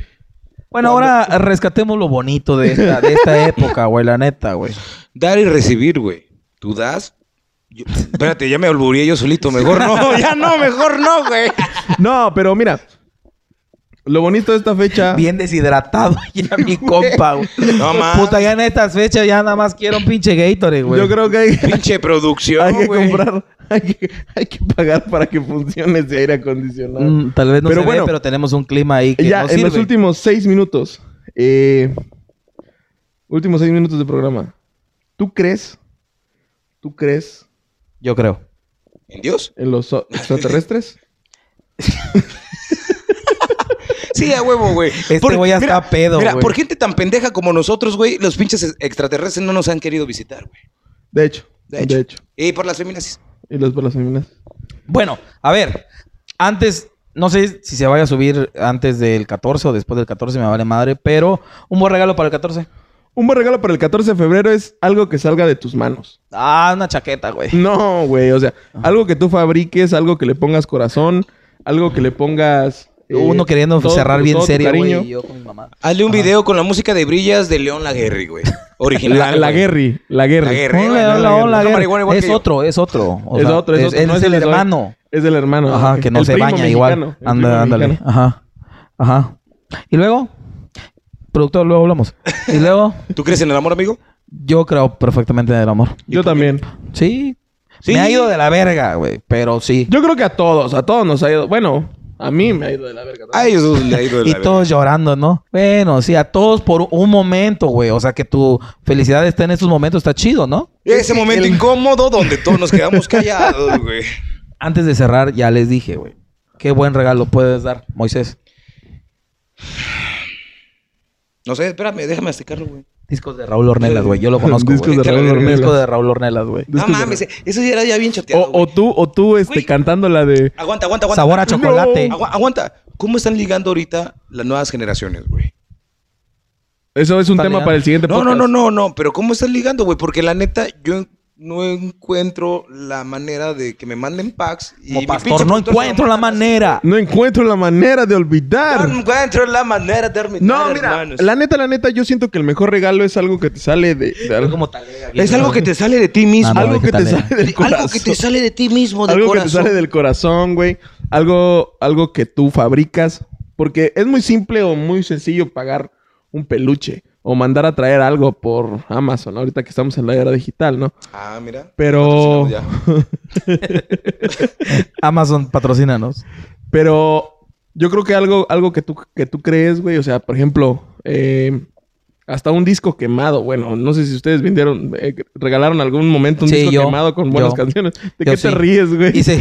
Speaker 1: Bueno, ahora rescatemos lo bonito de esta, de esta época, güey. La neta, güey.
Speaker 2: Dar y recibir, güey. Tú das. Yo- espérate, ya me olburé yo solito. Mejor no, ya no, mejor no, güey.
Speaker 3: No, pero mira. Lo bonito de esta fecha.
Speaker 1: Bien deshidratado ya mi compa, güey.
Speaker 2: No mames.
Speaker 1: Puta, ya en estas fechas ya nada más quiero un pinche Gatorade, güey.
Speaker 3: yo creo que hay,
Speaker 2: Pinche producción,
Speaker 3: hay que
Speaker 2: güey.
Speaker 3: comprar. Hay que, hay que pagar para que funcione ese aire acondicionado.
Speaker 1: Mm, tal vez no
Speaker 3: Pero
Speaker 1: se
Speaker 3: bueno.
Speaker 1: ve, pero tenemos un clima ahí que
Speaker 3: ya,
Speaker 1: no
Speaker 3: en los
Speaker 1: sirve.
Speaker 3: últimos seis minutos. eh, últimos seis minutos de programa. ¿Tú crees? ¿Tú crees
Speaker 1: Yo creo.
Speaker 2: ¿En Dios?
Speaker 3: en los so- extraterrestres?
Speaker 2: Sí, a huevo, güey.
Speaker 1: Este
Speaker 2: Por-
Speaker 1: güey ya
Speaker 2: mira,
Speaker 1: está pedo,
Speaker 2: Mira,
Speaker 1: güey.
Speaker 2: por gente tan pendeja como nosotros, güey, los pinches extraterrestres no nos han querido visitar, güey.
Speaker 3: De hecho.
Speaker 2: De hecho. Y por las feminazis.
Speaker 3: Y los por las feminas.
Speaker 1: Bueno, a ver, antes, no sé si se vaya a subir antes del 14 o después del 14, me vale madre, pero un buen regalo para el 14.
Speaker 3: Un buen regalo para el 14 de febrero es algo que salga de tus manos.
Speaker 1: Ah, una chaqueta, güey.
Speaker 3: No, güey. O sea, algo que tú fabriques, algo que le pongas corazón, algo que le pongas. eh,
Speaker 1: Uno queriendo
Speaker 3: todo-
Speaker 1: cerrar bien
Speaker 3: todo tu
Speaker 1: serio,
Speaker 3: cariño.
Speaker 1: güey, y yo con mi mamá.
Speaker 2: Hazle un video con la música de brillas de León Laguerri, güey. Original.
Speaker 3: La, la
Speaker 2: güey.
Speaker 3: Guerri. La Guerri.
Speaker 2: La Guerri.
Speaker 1: Hola,
Speaker 2: no,
Speaker 1: hola,
Speaker 2: no,
Speaker 1: hola,
Speaker 2: no,
Speaker 1: Ger-
Speaker 2: marihuana igual
Speaker 1: Es
Speaker 2: que yo.
Speaker 1: otro, es otro. o
Speaker 3: es
Speaker 1: sea,
Speaker 3: otro, es, otro. no
Speaker 1: es el
Speaker 3: de Zoe.
Speaker 1: hermano.
Speaker 3: Es el hermano.
Speaker 1: Ajá, que no
Speaker 3: El
Speaker 1: se
Speaker 3: primo
Speaker 1: baña
Speaker 3: mexicano,
Speaker 1: igual.
Speaker 3: el primo
Speaker 1: Anda, ándale.
Speaker 3: mexicano.
Speaker 1: Ajá. Ajá. Y luego, productor, luego hablamos. Y luego,
Speaker 2: ¿Tú crees en el amor, amigo?
Speaker 1: yo creo perfectamente en el amor.
Speaker 3: Yo también.
Speaker 1: Sí.
Speaker 2: Sí.
Speaker 1: Me ha ido de la verga, güey, pero sí.
Speaker 3: Yo creo que a todos, a todos nos ha ido. Bueno, a mí me ha ido de la verga.
Speaker 2: A ellos dos le ha ido de
Speaker 1: Y
Speaker 2: la verga.
Speaker 1: todos llorando, ¿no? Bueno, sí, a todos por un momento, güey. O sea, que tu felicidad esté en esos momentos, está chido, ¿no?
Speaker 2: Ese momento incómodo donde todos nos quedamos callados, güey.
Speaker 1: Antes de cerrar, ya les dije, güey. Qué buen regalo puedes dar, Moisés.
Speaker 2: No sé, espérame, déjame masticarlo, güey.
Speaker 1: Discos de Raúl Ornelas, güey. Yo lo conozco,
Speaker 3: Discos
Speaker 1: güey.
Speaker 3: de
Speaker 2: Vete a la
Speaker 3: Raúl
Speaker 2: verga.
Speaker 3: Ornelas.
Speaker 1: Disco de Raúl Ornelas, güey.
Speaker 2: No
Speaker 3: Discos de
Speaker 2: mames,
Speaker 3: Raúl.
Speaker 2: eso ya era ya bien choteado.
Speaker 3: O, o
Speaker 2: güey.
Speaker 3: tú, o tú, este,
Speaker 2: Güey.
Speaker 3: cantando la de.
Speaker 2: Aguanta, aguanta, aguanta.
Speaker 1: Sabor a
Speaker 2: aguanta.
Speaker 1: chocolate.
Speaker 2: Agua- aguanta. ¿Cómo están ligando ahorita las nuevas generaciones, güey?
Speaker 3: Eso es un
Speaker 1: Está
Speaker 3: tema
Speaker 1: legal.
Speaker 3: para el siguiente
Speaker 2: No, no,
Speaker 3: podcast.
Speaker 2: no, no, no. Pero ¿cómo están ligando, güey? Porque la neta, yo en- no encuentro la manera de que me manden packs. Y
Speaker 1: Como
Speaker 2: mi
Speaker 1: pastor,
Speaker 2: pinche
Speaker 1: no
Speaker 2: productor se lo
Speaker 1: encuentro la
Speaker 2: manda a
Speaker 1: manera.
Speaker 3: No encuentro la manera de olvidar.
Speaker 2: No encuentro la manera de ermitar,
Speaker 3: No, mira,
Speaker 2: hermanos.
Speaker 3: la neta, la neta, yo siento que el mejor regalo es algo que te sale de. de algo,
Speaker 1: Como talega,
Speaker 2: Es algo que te sale de ti mismo.
Speaker 1: Ah, no,
Speaker 3: algo
Speaker 1: dije
Speaker 3: que te
Speaker 1: talega.
Speaker 3: sale del corazón.
Speaker 2: algo que te sale de ti mismo, de
Speaker 3: algo que te
Speaker 2: corazón.
Speaker 3: sale del corazón, güey. Algo, algo que tú fabricas. Porque es muy simple o muy sencillo pagar un peluche o mandar a traer algo por Amazon, ¿no? ahorita que estamos en la era digital, ¿no?
Speaker 2: Ah, mira.
Speaker 3: Pero,
Speaker 2: Ya.
Speaker 1: Amazon, patrocínanos.
Speaker 3: pero yo creo que algo, algo que tú, que tú crees, güey. O sea, por ejemplo, eh, Hasta un disco quemado. Bueno, no sé si ustedes vendieron, eh, regalaron algún momento un
Speaker 1: Sí,
Speaker 3: disco
Speaker 1: yo,
Speaker 3: quemado con buenas
Speaker 1: yo.
Speaker 3: canciones. ¿De
Speaker 1: Yo
Speaker 3: qué
Speaker 1: sí.
Speaker 3: te ríes, güey?
Speaker 1: Y se,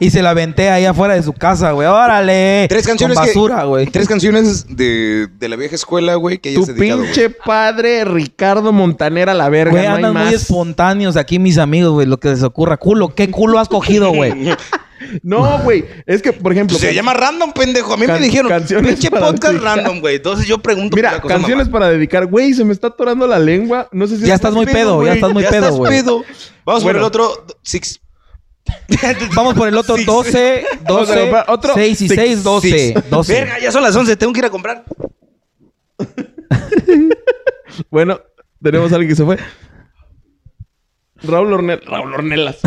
Speaker 1: y se la aventé ahí afuera de su casa, güey. ¡Órale!
Speaker 2: Tres canciones
Speaker 1: Con
Speaker 2: que-
Speaker 1: basura, güey.
Speaker 2: Tres canciones de, de la vieja escuela, güey, que hayas
Speaker 3: Tu
Speaker 2: dedicado, güey.
Speaker 3: pinche padre Ricardo Montanera, la verga.
Speaker 1: Güey,
Speaker 3: no hay
Speaker 1: andan muy
Speaker 3: más.
Speaker 1: espontáneos aquí mis amigos, güey. Lo que les ocurra. Culo, ¿qué culo has cogido, güey?
Speaker 3: No, güey. Es que, por ejemplo.
Speaker 2: Se
Speaker 3: can-
Speaker 2: llama random, pendejo. A mí
Speaker 3: Can-
Speaker 2: me dijeron,
Speaker 3: canciones
Speaker 2: pinche
Speaker 3: para
Speaker 2: podcast
Speaker 3: dedicar.
Speaker 2: random, güey. Entonces yo pregunto
Speaker 3: Mira, canciones para dedicar. Güey, se me está atorando la lengua. No sé si.
Speaker 1: Ya estás muy pedo, ya
Speaker 3: güey.
Speaker 1: estás muy
Speaker 2: muy
Speaker 1: pedo, güey.
Speaker 2: Vamos por
Speaker 3: Bueno.
Speaker 2: el otro six.
Speaker 1: Vamos por el otro
Speaker 2: Six.
Speaker 1: 12,
Speaker 3: Vamos a
Speaker 1: 12,
Speaker 3: comprar otro
Speaker 1: 6 y
Speaker 3: six,
Speaker 1: 6, 12.
Speaker 2: six.
Speaker 1: 12.
Speaker 2: Verga, ya son las 11, tengo que ir a comprar.
Speaker 3: Bueno, tenemos a alguien que se fue. Raúl Ornelas. Raúl Ornelas.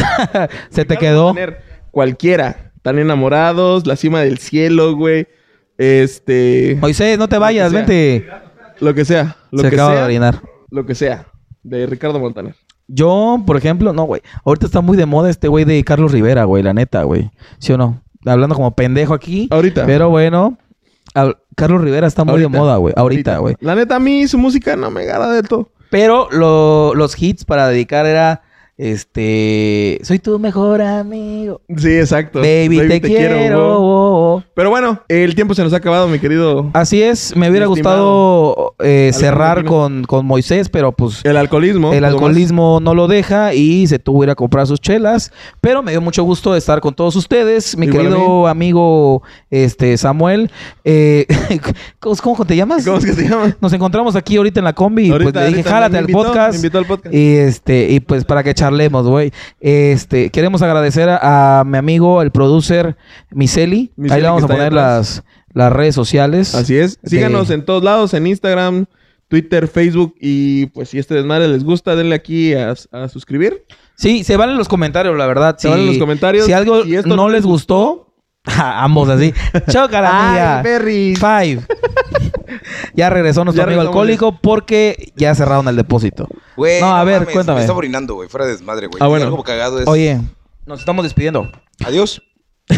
Speaker 1: Se te quedó.
Speaker 3: Tener Cualquiera. Tan enamorados, la cima del cielo, güey. Este.
Speaker 1: Moisés, no te vayas,
Speaker 3: sea.
Speaker 1: vente.
Speaker 3: Lo que sea. Lo
Speaker 1: Se
Speaker 3: que
Speaker 1: acaba de
Speaker 3: sea.
Speaker 1: orinar.
Speaker 3: lo que sea. De Ricardo Montaner.
Speaker 1: Yo, por ejemplo, no, güey. Ahorita está muy de moda este güey de Carlos Rivera, güey, la neta, güey. ¿Sí o no? Hablando como pendejo aquí.
Speaker 3: Ahorita.
Speaker 1: Pero bueno, al- Carlos Rivera está muy de
Speaker 3: Ahorita.
Speaker 1: moda, güey. Ahorita, güey.
Speaker 3: La neta, a mí su música no me agrada de todo.
Speaker 1: Pero lo- los hits para dedicar era este. Soy tu mejor amigo.
Speaker 3: Sí, exacto.
Speaker 1: Baby, te, quiero.
Speaker 3: wow.
Speaker 1: oh, oh.
Speaker 3: Pero bueno, el tiempo se nos ha acabado, mi querido.
Speaker 1: Así es, me hubiera
Speaker 3: Mi
Speaker 1: gustado eh, cerrar
Speaker 3: Alejandro
Speaker 1: con, con Moisés, pero pues
Speaker 3: El alcoholismo.
Speaker 1: el
Speaker 3: Tomás.
Speaker 1: alcoholismo no lo deja y se tuvo que ir a comprar sus chelas. Pero me dio mucho gusto estar con todos ustedes. Mi
Speaker 3: Igual a
Speaker 1: querido amigo este Samuel. eh, ¿cómo, cómo te llamas?
Speaker 3: ¿Cómo es que se llama?
Speaker 1: Nos encontramos aquí ahorita en la combi y
Speaker 3: Ahorita,
Speaker 1: pues le dije,
Speaker 3: ahorita,
Speaker 1: jálate
Speaker 3: me
Speaker 1: al
Speaker 3: invitó, me
Speaker 1: podcast.
Speaker 3: invitó al podcast.
Speaker 1: Y este, y pues para que charlemos, güey. Este, queremos agradecer a, a mi amigo, el producer Miseli. Ahí
Speaker 3: Miseli,
Speaker 1: le vamos a
Speaker 3: que está ahí
Speaker 1: poner
Speaker 3: atrás.
Speaker 1: las, las redes sociales.
Speaker 3: Así es.
Speaker 1: de-
Speaker 3: Síganos en todos lados, en Instagram, Twitter, Facebook. Y pues si este desmadre les gusta, denle aquí a, a suscribir.
Speaker 1: Sí, se valen los comentarios, la verdad.
Speaker 3: Se
Speaker 1: Si-
Speaker 3: valen los comentarios.
Speaker 1: Si algo
Speaker 3: Si esto
Speaker 1: no
Speaker 3: no
Speaker 1: les
Speaker 3: les
Speaker 1: gustó, ja, ambos así. Chócala,
Speaker 3: Ay,
Speaker 1: amiga.
Speaker 3: Berry.
Speaker 1: Five. ya regresó nuestro
Speaker 3: Ya
Speaker 1: amigo
Speaker 3: regresamos.
Speaker 1: alcohólico porque ya cerraron el depósito.
Speaker 2: Güey.
Speaker 1: no, a ver,
Speaker 2: mames,
Speaker 1: cuéntame.
Speaker 2: Me está orinando, güey. Fuera de desmadre, güey.
Speaker 3: Ah,
Speaker 2: Y
Speaker 3: bueno.
Speaker 2: Algo cagado es.
Speaker 1: Oye, nos estamos despidiendo.
Speaker 2: Adiós. Sí,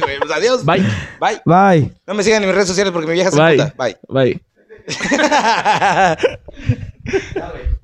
Speaker 2: güey, pues, adiós.
Speaker 3: Bye.
Speaker 2: Bye.
Speaker 1: Bye.
Speaker 2: No me sigan en mis redes
Speaker 3: é
Speaker 2: sociales porque mi vieja se
Speaker 3: Bye.
Speaker 2: puta. Bye.
Speaker 3: Bye.